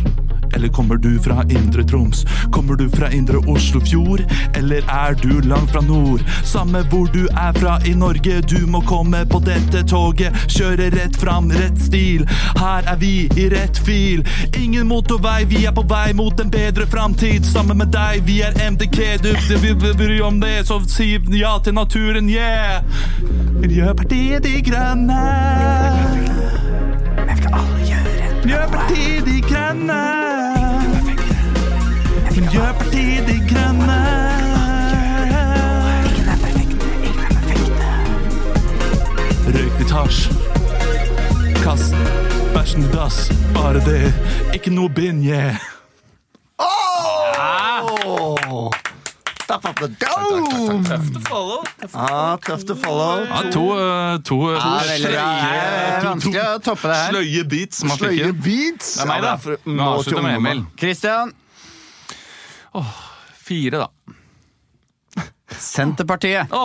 Speaker 1: eller kom
Speaker 10: Kommer du fra indre Troms? Kommer du fra indre Oslofjord? Eller er du langt fra nord? Samme hvor du er fra i Norge, du må komme på dette toget. Kjøre rett fram, rett stil. Her er vi i rett fil. Ingen motorvei, vi er på vei mot en bedre framtid. Sammen med deg, vi er MDK. Du, du vi vi bryr om det, så si ja til naturen, yeah! Miljøpartiet De Grønne. Men skal alle gjøre Miljøpartiet De Grønne. Miljøpartiet De Grønne. Røyk litt hasj. Kast bæsjen i dass. Bare det. Ikke noe bind, yeah.
Speaker 2: Oh! Stop up the dome! Tøft
Speaker 6: å follow.
Speaker 2: Ah, tøft å follow.
Speaker 1: Ja, to eh, to, eh,
Speaker 2: Ja,
Speaker 1: to
Speaker 2: veldig bra.
Speaker 1: sløye- to- to-
Speaker 5: Vanskelig å toppe det her.
Speaker 1: Sløye beats. Man fikk
Speaker 2: Sløye
Speaker 1: inn.
Speaker 2: beats?
Speaker 1: Det er meg,
Speaker 2: Ja,
Speaker 1: da.
Speaker 2: det er for-
Speaker 1: Nå
Speaker 2: nå til
Speaker 1: avslutter med
Speaker 2: ungdommen.
Speaker 1: Emil.
Speaker 5: Christian.
Speaker 3: Fire, da.
Speaker 5: Senterpartiet.
Speaker 1: den er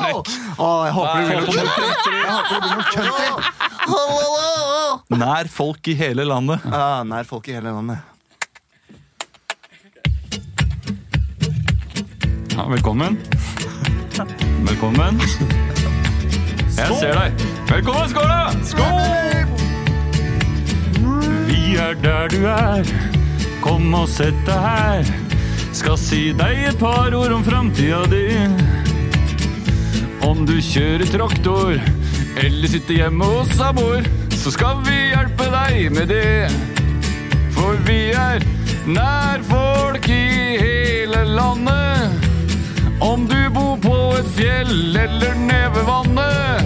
Speaker 1: frekk.
Speaker 2: Åh, Ah, jeg håper det blir noe
Speaker 1: Nei.
Speaker 2: country. Jeg håper det blir noe country. Hallo!
Speaker 1: Nær folk i hele landet.
Speaker 2: Ah, nær folk i hele landet.
Speaker 3: Ja, velkommen. Velkommen. Jeg ser deg. Velkommen, skål! da! Vi er der du er. Kom og sett deg her. Skal si deg et par ord om framtida di. Om du kjører traktor eller sitter hjemme hos samboer, så skal vi hjelpe deg med det. For vi er nær folk i hele landet. Om du bor på et fjell eller ned ved vannet.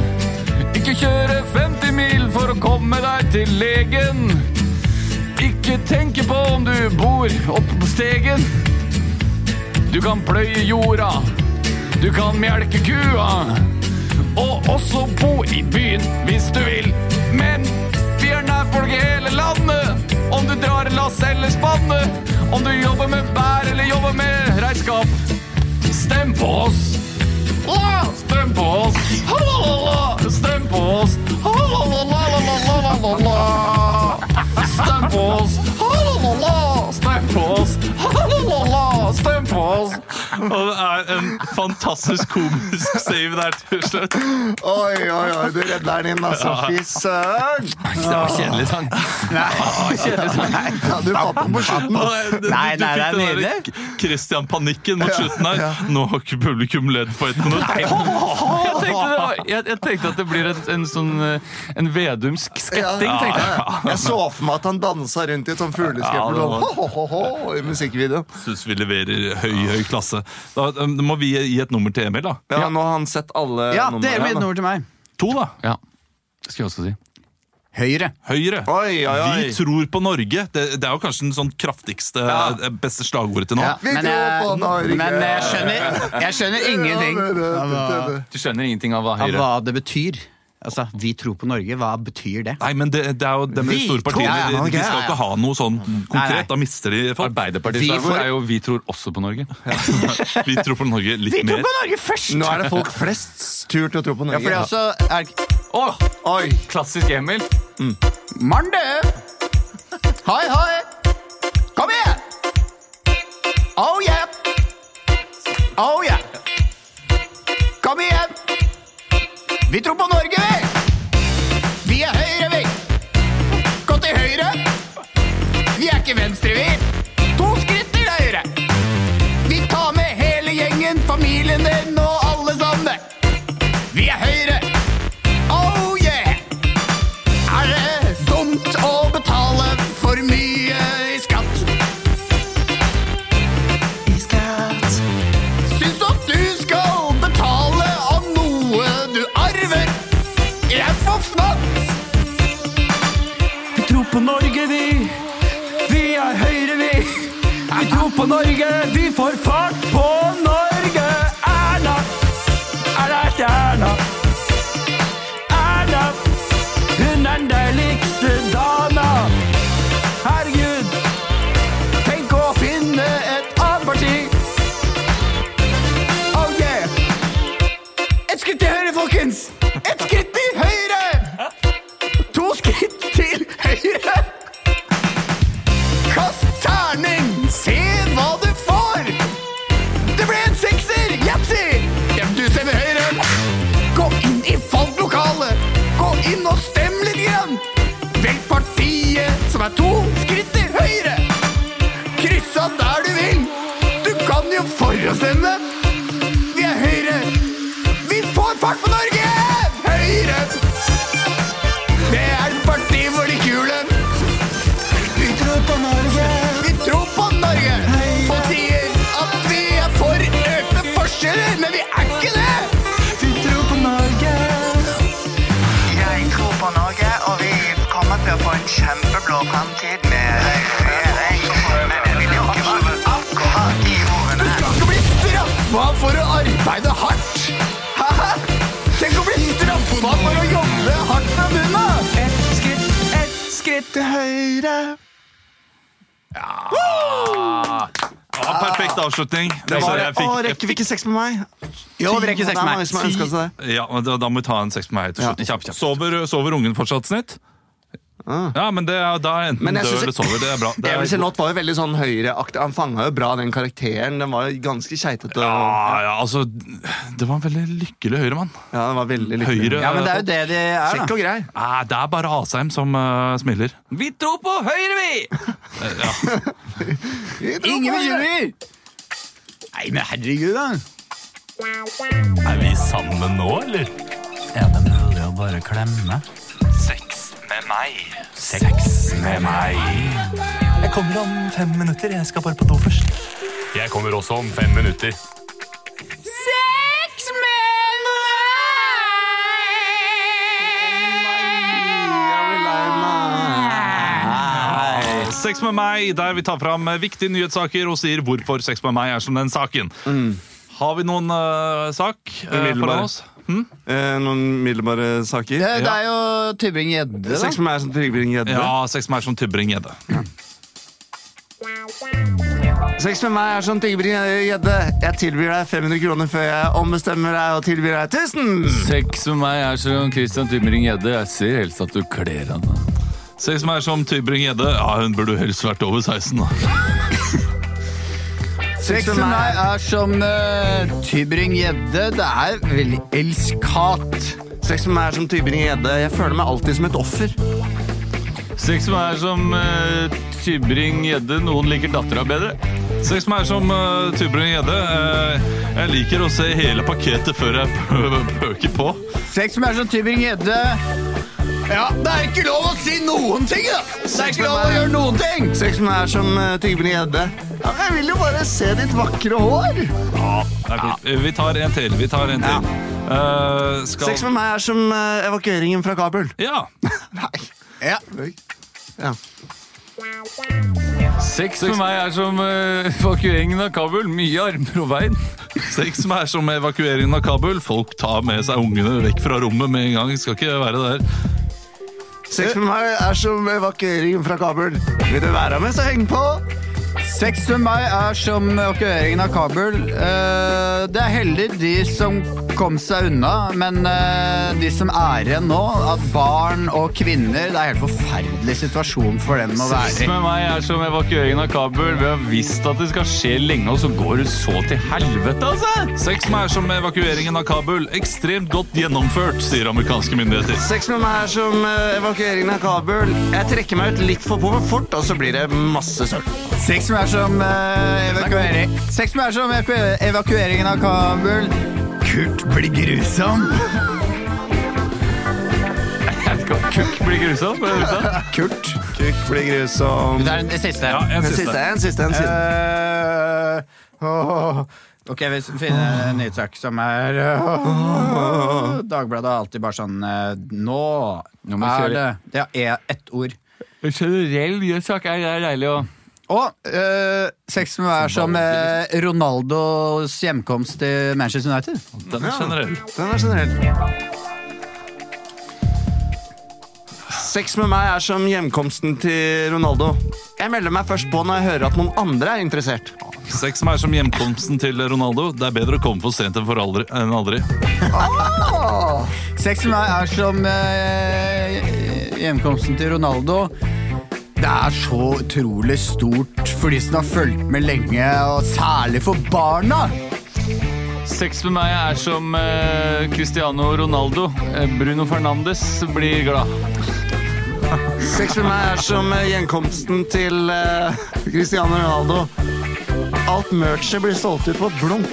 Speaker 3: Ikke kjøre 50 mil for å komme deg til legen. Ikke tenke på om du bor oppe på stegen. Du kan pløye jorda, du kan melke kua, og også bo i byen hvis du vil. Men vi er nærfolk i hele landet, om du drar en lass eller spanne, om du jobber med bær eller jobber med regnskap. Stem på oss! La, stem på oss! Ha-la-la-la! Stem på oss! Ha-la-la-la-la-la-la-la-la! Stem på oss! Ha-la-la-la! Stem på oss! Ha-la-la-la! Stem på oss!
Speaker 1: Og det er en fantastisk komisk save der til slutt.
Speaker 2: Oi, oi, oi, du redder den inn, altså. Fy søren!
Speaker 1: Det var kjedelig sang.
Speaker 2: Nei, ja, du fant den på slutten.
Speaker 1: Nei, nei, det er nydelig. Christian-panikken mot slutten her. Nå har ikke publikum ledd på ett minutt.
Speaker 3: Jeg tenkte, det var, jeg, jeg tenkte at det blir en, en sånn eh, En vedumsk sketting,
Speaker 2: Ja,
Speaker 3: tenkte jeg.
Speaker 2: ja. Jeg så for meg at han dansa rundt i et sånt sånn fugleskremmel
Speaker 1: Ja, det var-
Speaker 2: i musikkvideoen.
Speaker 1: Syns vi leverer høy, høy klasse. Da um, må vi gi et nummer til Emil, da.
Speaker 2: Ja, Nå har han sett alle
Speaker 5: Ja,
Speaker 2: numrene,
Speaker 5: det er mitt
Speaker 2: da.
Speaker 5: nummer til meg.
Speaker 1: To, da.
Speaker 3: Ja. Skal jeg også si.
Speaker 5: Høyre.
Speaker 1: Høyre.
Speaker 2: Oi, oi, oi.
Speaker 1: Vi tror på Norge. Det, det er jo kanskje den sånn kraftigste, eh, beste slagordet til nå.
Speaker 5: Ja,
Speaker 2: Vi
Speaker 5: men,
Speaker 2: tror på Norge.
Speaker 5: jeg, men jeg skjønner, jeg skjønner ingenting
Speaker 2: eh,
Speaker 3: Du skjønner ingenting av hva
Speaker 5: av
Speaker 3: Høyre
Speaker 5: hva det betyr. Altså, Vi tror på Norge, hva betyr det?
Speaker 1: Nei, men det, det er jo de
Speaker 5: Vi
Speaker 1: store
Speaker 5: tror-
Speaker 1: partiene.
Speaker 5: Ja, ja,
Speaker 1: De, de skal
Speaker 5: ok.
Speaker 1: ikke ha noe sånn
Speaker 5: Nei, nei.
Speaker 1: konkret. Da mister de folk.
Speaker 3: Arbeiderpartiets
Speaker 5: Vi
Speaker 3: slagord
Speaker 5: får-
Speaker 3: er jo 'Vi tror også på Norge'.
Speaker 1: Vi tror på Norge litt
Speaker 5: Vi tror
Speaker 1: mer.
Speaker 5: på Norge først!
Speaker 2: Nå er det folk flests tur til å tro på
Speaker 5: Ja,
Speaker 2: Norge.
Speaker 5: for det er også er,
Speaker 3: Åh,
Speaker 2: Oi,
Speaker 3: klassisk Emil.
Speaker 5: Maren død! Hei, hei! Kom igjen! Oh yeah! Oh yeah! Kom igjen! Vi tror på Norge, vi! Vi er Høyre, vi! Gå til høyre! Vi er ikke venstre, vi! To skritt til høyre! Vi tar med hele gjengen, familien din og alle sammen! Vi er Høyre! Oh yeah! Er det dumt å betale for mye i skatt? I skatt Syns du at du skal betale av noe du arver? Jeg er for fnatt! Vi tror på Norge, vi. Vi er Høyre, vi. Vi tror på Norge, vi får fart på Norge. Erna, Erna, Erna. Erna, hun er den deiligste dama. Herregud, tenk å finne et annet parti. Oh yeah. Et skritt til høyre, folkens. Et skritt til høyre. To skritt til høyre. Kom
Speaker 16: i valglokalet. Gå inn og stem litt grann. Velg partiet som er to skritt til høyre. Kryssa der du vil. Du kan jo forhåndsstemme. Vi er Høyre. Vi får fart på Norge! Høyre. Det er partiet for de kule. Vi tror på Norge. Vi tror på Norge. Og sier at vi er for økte forskjeller, men vi er ikke det. Vi tror på Norge.
Speaker 11: Jeg tror på Norge, og vi kommer til å få en kjempeblå framtid med regjering. Men jeg vil jo ikke være akkurat i ordene.
Speaker 16: Du skal ikke bli straffa for å arbeide hardt. Hæ? Tenk å bli straffa for å jobbe hardt med munna. Et skritt,
Speaker 2: altså-
Speaker 16: et skritt til høyre.
Speaker 1: Ah, ja, perfekt avslutning.
Speaker 2: Det var,
Speaker 1: Altså, jeg fikk-
Speaker 2: å, rekker vi ikke sex med meg?
Speaker 1: Jo, det
Speaker 2: rekker sex med meg. Det er mange som har ønsket seg det.
Speaker 1: Ja, men da, da må vi ta en sex med meg til slutt. Kjapt, kjapt. Sover, sover ungen fortsatt snitt? Ja, men det er, da er enten
Speaker 2: Men jeg
Speaker 1: dør
Speaker 2: synes-
Speaker 1: eller sover. Det er bra. Det er-
Speaker 2: Emil sin låt var jo veldig sånn høyreaktig. Han fanga jo bra den karakteren. Den var jo ganske keitete.
Speaker 1: Ja, ja, altså Det var en veldig lykkelig Høyre-mann.
Speaker 2: Ja, den var veldig lykkelig.
Speaker 1: Høyre,
Speaker 2: Ja, men det er jo det
Speaker 5: de er,
Speaker 2: Kjekk og grei.
Speaker 1: Nei, Ah, det er bare Asheim som eh, smiler.
Speaker 3: Vi tror på Høyre, vi!
Speaker 1: Eh, ja.
Speaker 5: Ingen bekymringer! Nei, men herregud, da.
Speaker 9: Er vi sammen nå, eller?
Speaker 12: Er det mulig å bare klemme?
Speaker 9: Sex med meg.
Speaker 12: Sex med meg.
Speaker 9: Jeg kommer om fem minutter. Jeg skal bare på do først. Jeg kommer også om fem minutter.
Speaker 16: Sex med
Speaker 1: Sex med meg, der vi tar fram eh, viktige nyhetssaker og sier hvorfor sex med meg er som den saken. Har vi noen eh, sak eh, foran oss? Hm?
Speaker 2: Eh, noen middelbare saker?
Speaker 5: Det, det er jo Tybring-Gjedde,
Speaker 2: Sex
Speaker 5: da.
Speaker 2: med meg som Tybring-Gjedde.
Speaker 1: Ja, sex med meg som Tybring-Gjedde.
Speaker 2: Sex med meg er som Tybring-Gjedde. Jeg tilbyr deg 500 kroner før jeg ombestemmer deg og tilbyr deg 1000.
Speaker 3: Sex med meg er som Christian Tybring-Gjedde. Jeg ser helst at du kler han.
Speaker 1: Sex med meg som Tybring-Gjedde. Ja, hun burde helst vært over 16, da.
Speaker 5: Sex med meg er som eh, Tybring-Gjedde. Det er veldig elskat.
Speaker 2: Sex med meg er som Tybring-Gjedde. Jeg føler meg alltid som et offer.
Speaker 3: Sex med meg er som uh, Tybring-Gjedde. Noen liker dattera bedre.
Speaker 1: Sex med meg er som eh, Tybring-Gjedde. Eh, jeg liker å se hele pakketet før jeg [LAUGHS] pø- pøker på.
Speaker 5: Sex med meg er som Tybring-Gjedde. Ja, det er ikke lov å si noen ting, da! Det er ikke lov å gjøre noen ting!
Speaker 2: Sex med meg er som eh, Tybring-Gjedde. Ja, men jeg vil jo bare se ditt vakre hår.
Speaker 1: Det er fint. Eh, Vi tar en til. Vi tar en til. Eh, skal...
Speaker 2: Sex med meg er som eh, evakueringen fra Kabul.
Speaker 1: Ja.
Speaker 5: Ja.
Speaker 2: ja.
Speaker 3: Sex med meg er som eh, evakueringen av Kabul. Mye armer og bein.
Speaker 1: Sex med meg er som evakueringen av Kabul. Folk tar med seg ungene vekk fra rommet med en gang. Skal ikke være der.
Speaker 2: Sex med meg er som evakueringen fra Kabul. Vil du være med, så heng på.
Speaker 5: Sex med meg er som eh, evakueringen av Kabul. Eh, det er heldig de som kom seg unna, men eh, de som er igjen nå, at barn og kvinner Det er en helt forferdelig situasjon for dem å
Speaker 3: Sex
Speaker 5: være i.
Speaker 3: med meg er som evakueringen av Kabul. Vi har visst at det skal skje lenge, og så går det så til helvete, altså!
Speaker 1: Sex med meg er som evakueringen av Kabul. Ekstremt godt gjennomført, sier amerikanske myndigheter.
Speaker 2: Sex med meg er som eh, evakueringen av Kabul. Jeg trekker meg ut litt for for fort, og så blir det masse søl.
Speaker 5: Sex med meg er som eh, evakuering Sex med meg er som evaku- evakueringen av Kabul. Kurt blir grusom.
Speaker 3: Jeg vet ikke om Kukk blir grusom. men vet du hva?
Speaker 5: Kurt.
Speaker 2: Kukk blir grusom.
Speaker 5: Det er den siste.
Speaker 1: Ja, en
Speaker 2: En
Speaker 1: siste.
Speaker 2: siste, en siste. En siste.
Speaker 5: Eh, åh. Ok, vi finner en nyhetssak som er eh, åh. Dagbladet er alltid bare sånn eh, Nå
Speaker 3: må vi
Speaker 5: er det Ja,
Speaker 3: kjøre.
Speaker 5: e- ett ord.
Speaker 3: En generell nyhetssak er, er deilig å
Speaker 5: Og eh, sex med hver som eh, Ronaldos hjemkomst til Manchester United.
Speaker 1: Den er generell.
Speaker 2: Den er generell. Sex med meg er som hjemkomsten til Ronaldo. Jeg melder meg først på når jeg hører at noen andre er interessert.
Speaker 1: Sex med meg er som hjemkomsten til Ronaldo. Det er bedre å komme for sent enn, for aldri, enn aldri.
Speaker 5: Sex med meg er som eh, hjemkomsten til Ronaldo. Det er så utrolig stort for de som har fulgt med lenge, og særlig for barna.
Speaker 3: Sex med meg er som eh, Cristiano Ronaldo. Eh, Bruno Fernandes blir glad.
Speaker 2: Sex med meg er som eh, gjenkomsten til eh, Cristiano Ronaldo. Alt merchet blir solgt ut på blunk.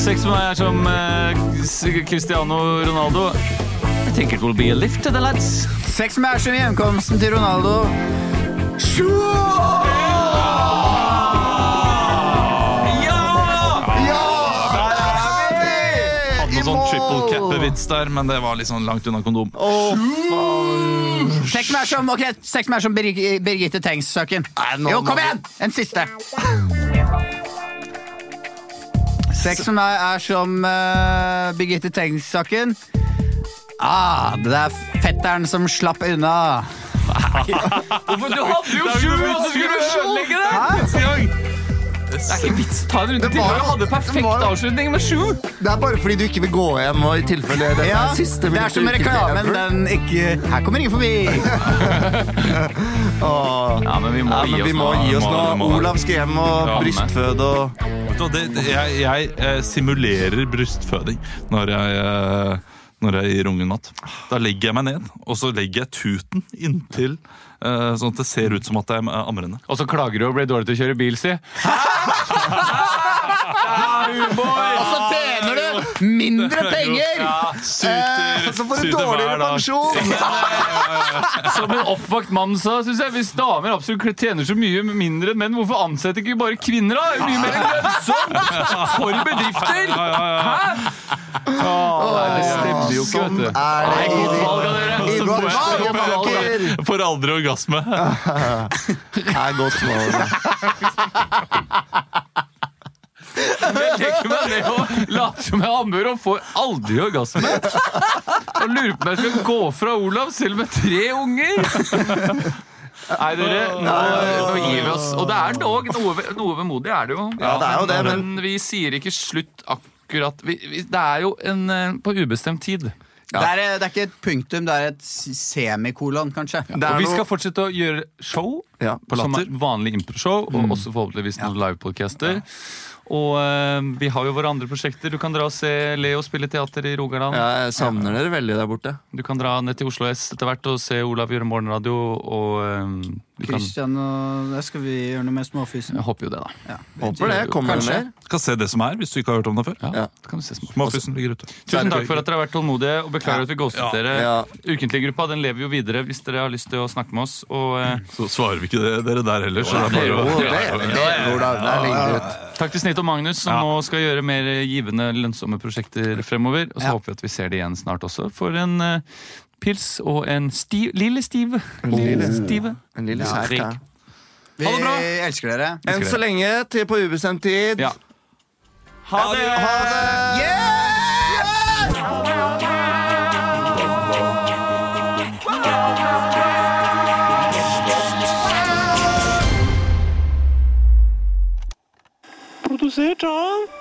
Speaker 3: Sex med meg er som eh, s- Cristiano Ronaldo. I think it will be a lift to the lads.
Speaker 5: Sex med Ashton i hjemkomsten til Ronaldo.
Speaker 1: Hadde noe sånn triple cap-vits der, men det var litt sånn langt unna kondom.
Speaker 13: Sex med er som, ok, sex med er som Birg Birgitte Tengs-saken.
Speaker 1: nå
Speaker 13: Jo,
Speaker 1: må
Speaker 13: kom
Speaker 1: vi-
Speaker 13: igjen! En siste. Sex med meg er som eh, Birgitte Tengs-saken. Ah, det er fetteren som slapp unna.
Speaker 3: Hvorfor? Du hadde jo sju, og så skulle du ødelegge det! Det er ikke vits. Ta en runde til.
Speaker 2: var jo-
Speaker 3: Jeg hadde perfekt avslutning med sju.
Speaker 2: Det er bare fordi du ikke vil gå hjem, og i tilfelle dette
Speaker 13: Ja,
Speaker 2: er siste
Speaker 13: det er som
Speaker 2: minuttet,
Speaker 13: reklamen,
Speaker 2: ikke
Speaker 13: den ikke Her kommer ingen forbi.
Speaker 2: Åh.
Speaker 3: Ja, men vi må,
Speaker 2: Ja, men vi må gi oss nå. Olav skal hjem og brystføde og
Speaker 1: Vet du hva, det, det- jeg, jeg eh, simulerer brystføding når jeg, eh, når jeg gir ungen mat. Da legger jeg meg ned, og så legger jeg tuten inntil, eh, sånn at det ser ut som at jeg er amrende.
Speaker 3: Og så klager du og blir dårlig til å kjøre bil, si.
Speaker 13: Og
Speaker 5: Altså,
Speaker 13: så tjener du mindre penger!
Speaker 1: Eh,
Speaker 13: så får du
Speaker 3: Syter hver
Speaker 13: dårligere
Speaker 3: dag.
Speaker 13: pensjon!
Speaker 3: Som en oppvakt mann sa, synes jeg, hvis damer absolutt tjener så mye mindre enn menn, hvorfor ansetter ikke vi bare kvinner, da? Det er jo Mye mer lønnsomt for bedrifter! Hæ? Åh, det stemmer jo ikke,
Speaker 2: sånn.
Speaker 3: vet du. Nei, godt valg av dere.
Speaker 1: Så
Speaker 3: Godt
Speaker 1: får jeg-
Speaker 3: valg, godt valg.
Speaker 1: Får aldri orgasme.
Speaker 2: er godt mål.
Speaker 3: Jeg legger meg ned og later som jeg har ammer og får aldri orgasme. Og lurer på om jeg skal gå fra Olav selv med tre unger. Nei, dere, nå, nå gir vi oss. Og det er dog noe, ve- noe vemodig, er det jo.
Speaker 2: Ja, det er jo det, men-
Speaker 3: vi sier ikke slutt akkurat. Vi, vi, det er jo en, eh, på ubestemt tid.
Speaker 5: Det, er,
Speaker 13: eh,
Speaker 5: det er ikke et punktum, det er et s- semikolon, kanskje.
Speaker 3: og vi skal fortsette å gjøre show på Latter. Mm. Som er vanlig impro-show, og også forhåpentligvis noen livepodcaster. Og eh, vi har jo våre andre prosjekter. Du kan dra og se Leo spille teater i Rogaland.
Speaker 2: Ja, jeg savner dere veldig der borte.
Speaker 3: Du kan dra ned til Oslo S etter hvert og se Olav gjøre morgenradio. Og eh, du kan,
Speaker 5: Christian og Der skal vi gjøre noe med småfysen.
Speaker 3: Jeg håper jo det, da.
Speaker 2: Håper det. Kommer det
Speaker 3: Kanskje.
Speaker 2: mer?
Speaker 1: Skal se det som er, hvis du ikke har hørt om det før.
Speaker 3: Ja, det kan du se
Speaker 1: Småfisen ligger ute.
Speaker 3: tusen takk for at dere har vært tålmodige, og beklager at vi ghostet dere. Ukentlige gruppa den lever jo videre hvis dere har lyst til å snakke med oss. Og, eh,
Speaker 1: Så svarer vi ikke det, dere der heller. Så det er
Speaker 3: Jo,
Speaker 1: bare å-
Speaker 3: det er- det er-
Speaker 2: Olav, der legger du ut.
Speaker 3: Takk til Snitt og Magnus, som nå skal gjøre mer givende, lønnsomme prosjekter fremover. Og så håper vi at vi ser det igjen snart også. For en eh, pils og en stiv, lille stiv.
Speaker 2: lille-
Speaker 3: stive.
Speaker 2: En lille
Speaker 3: Ja,
Speaker 2: sæk,
Speaker 3: drikk.
Speaker 2: ja.
Speaker 5: Vi elsker dere.
Speaker 2: Enn så lenge til på ubestemt tid.
Speaker 3: Ha det!
Speaker 2: Ha det!
Speaker 9: Produsert av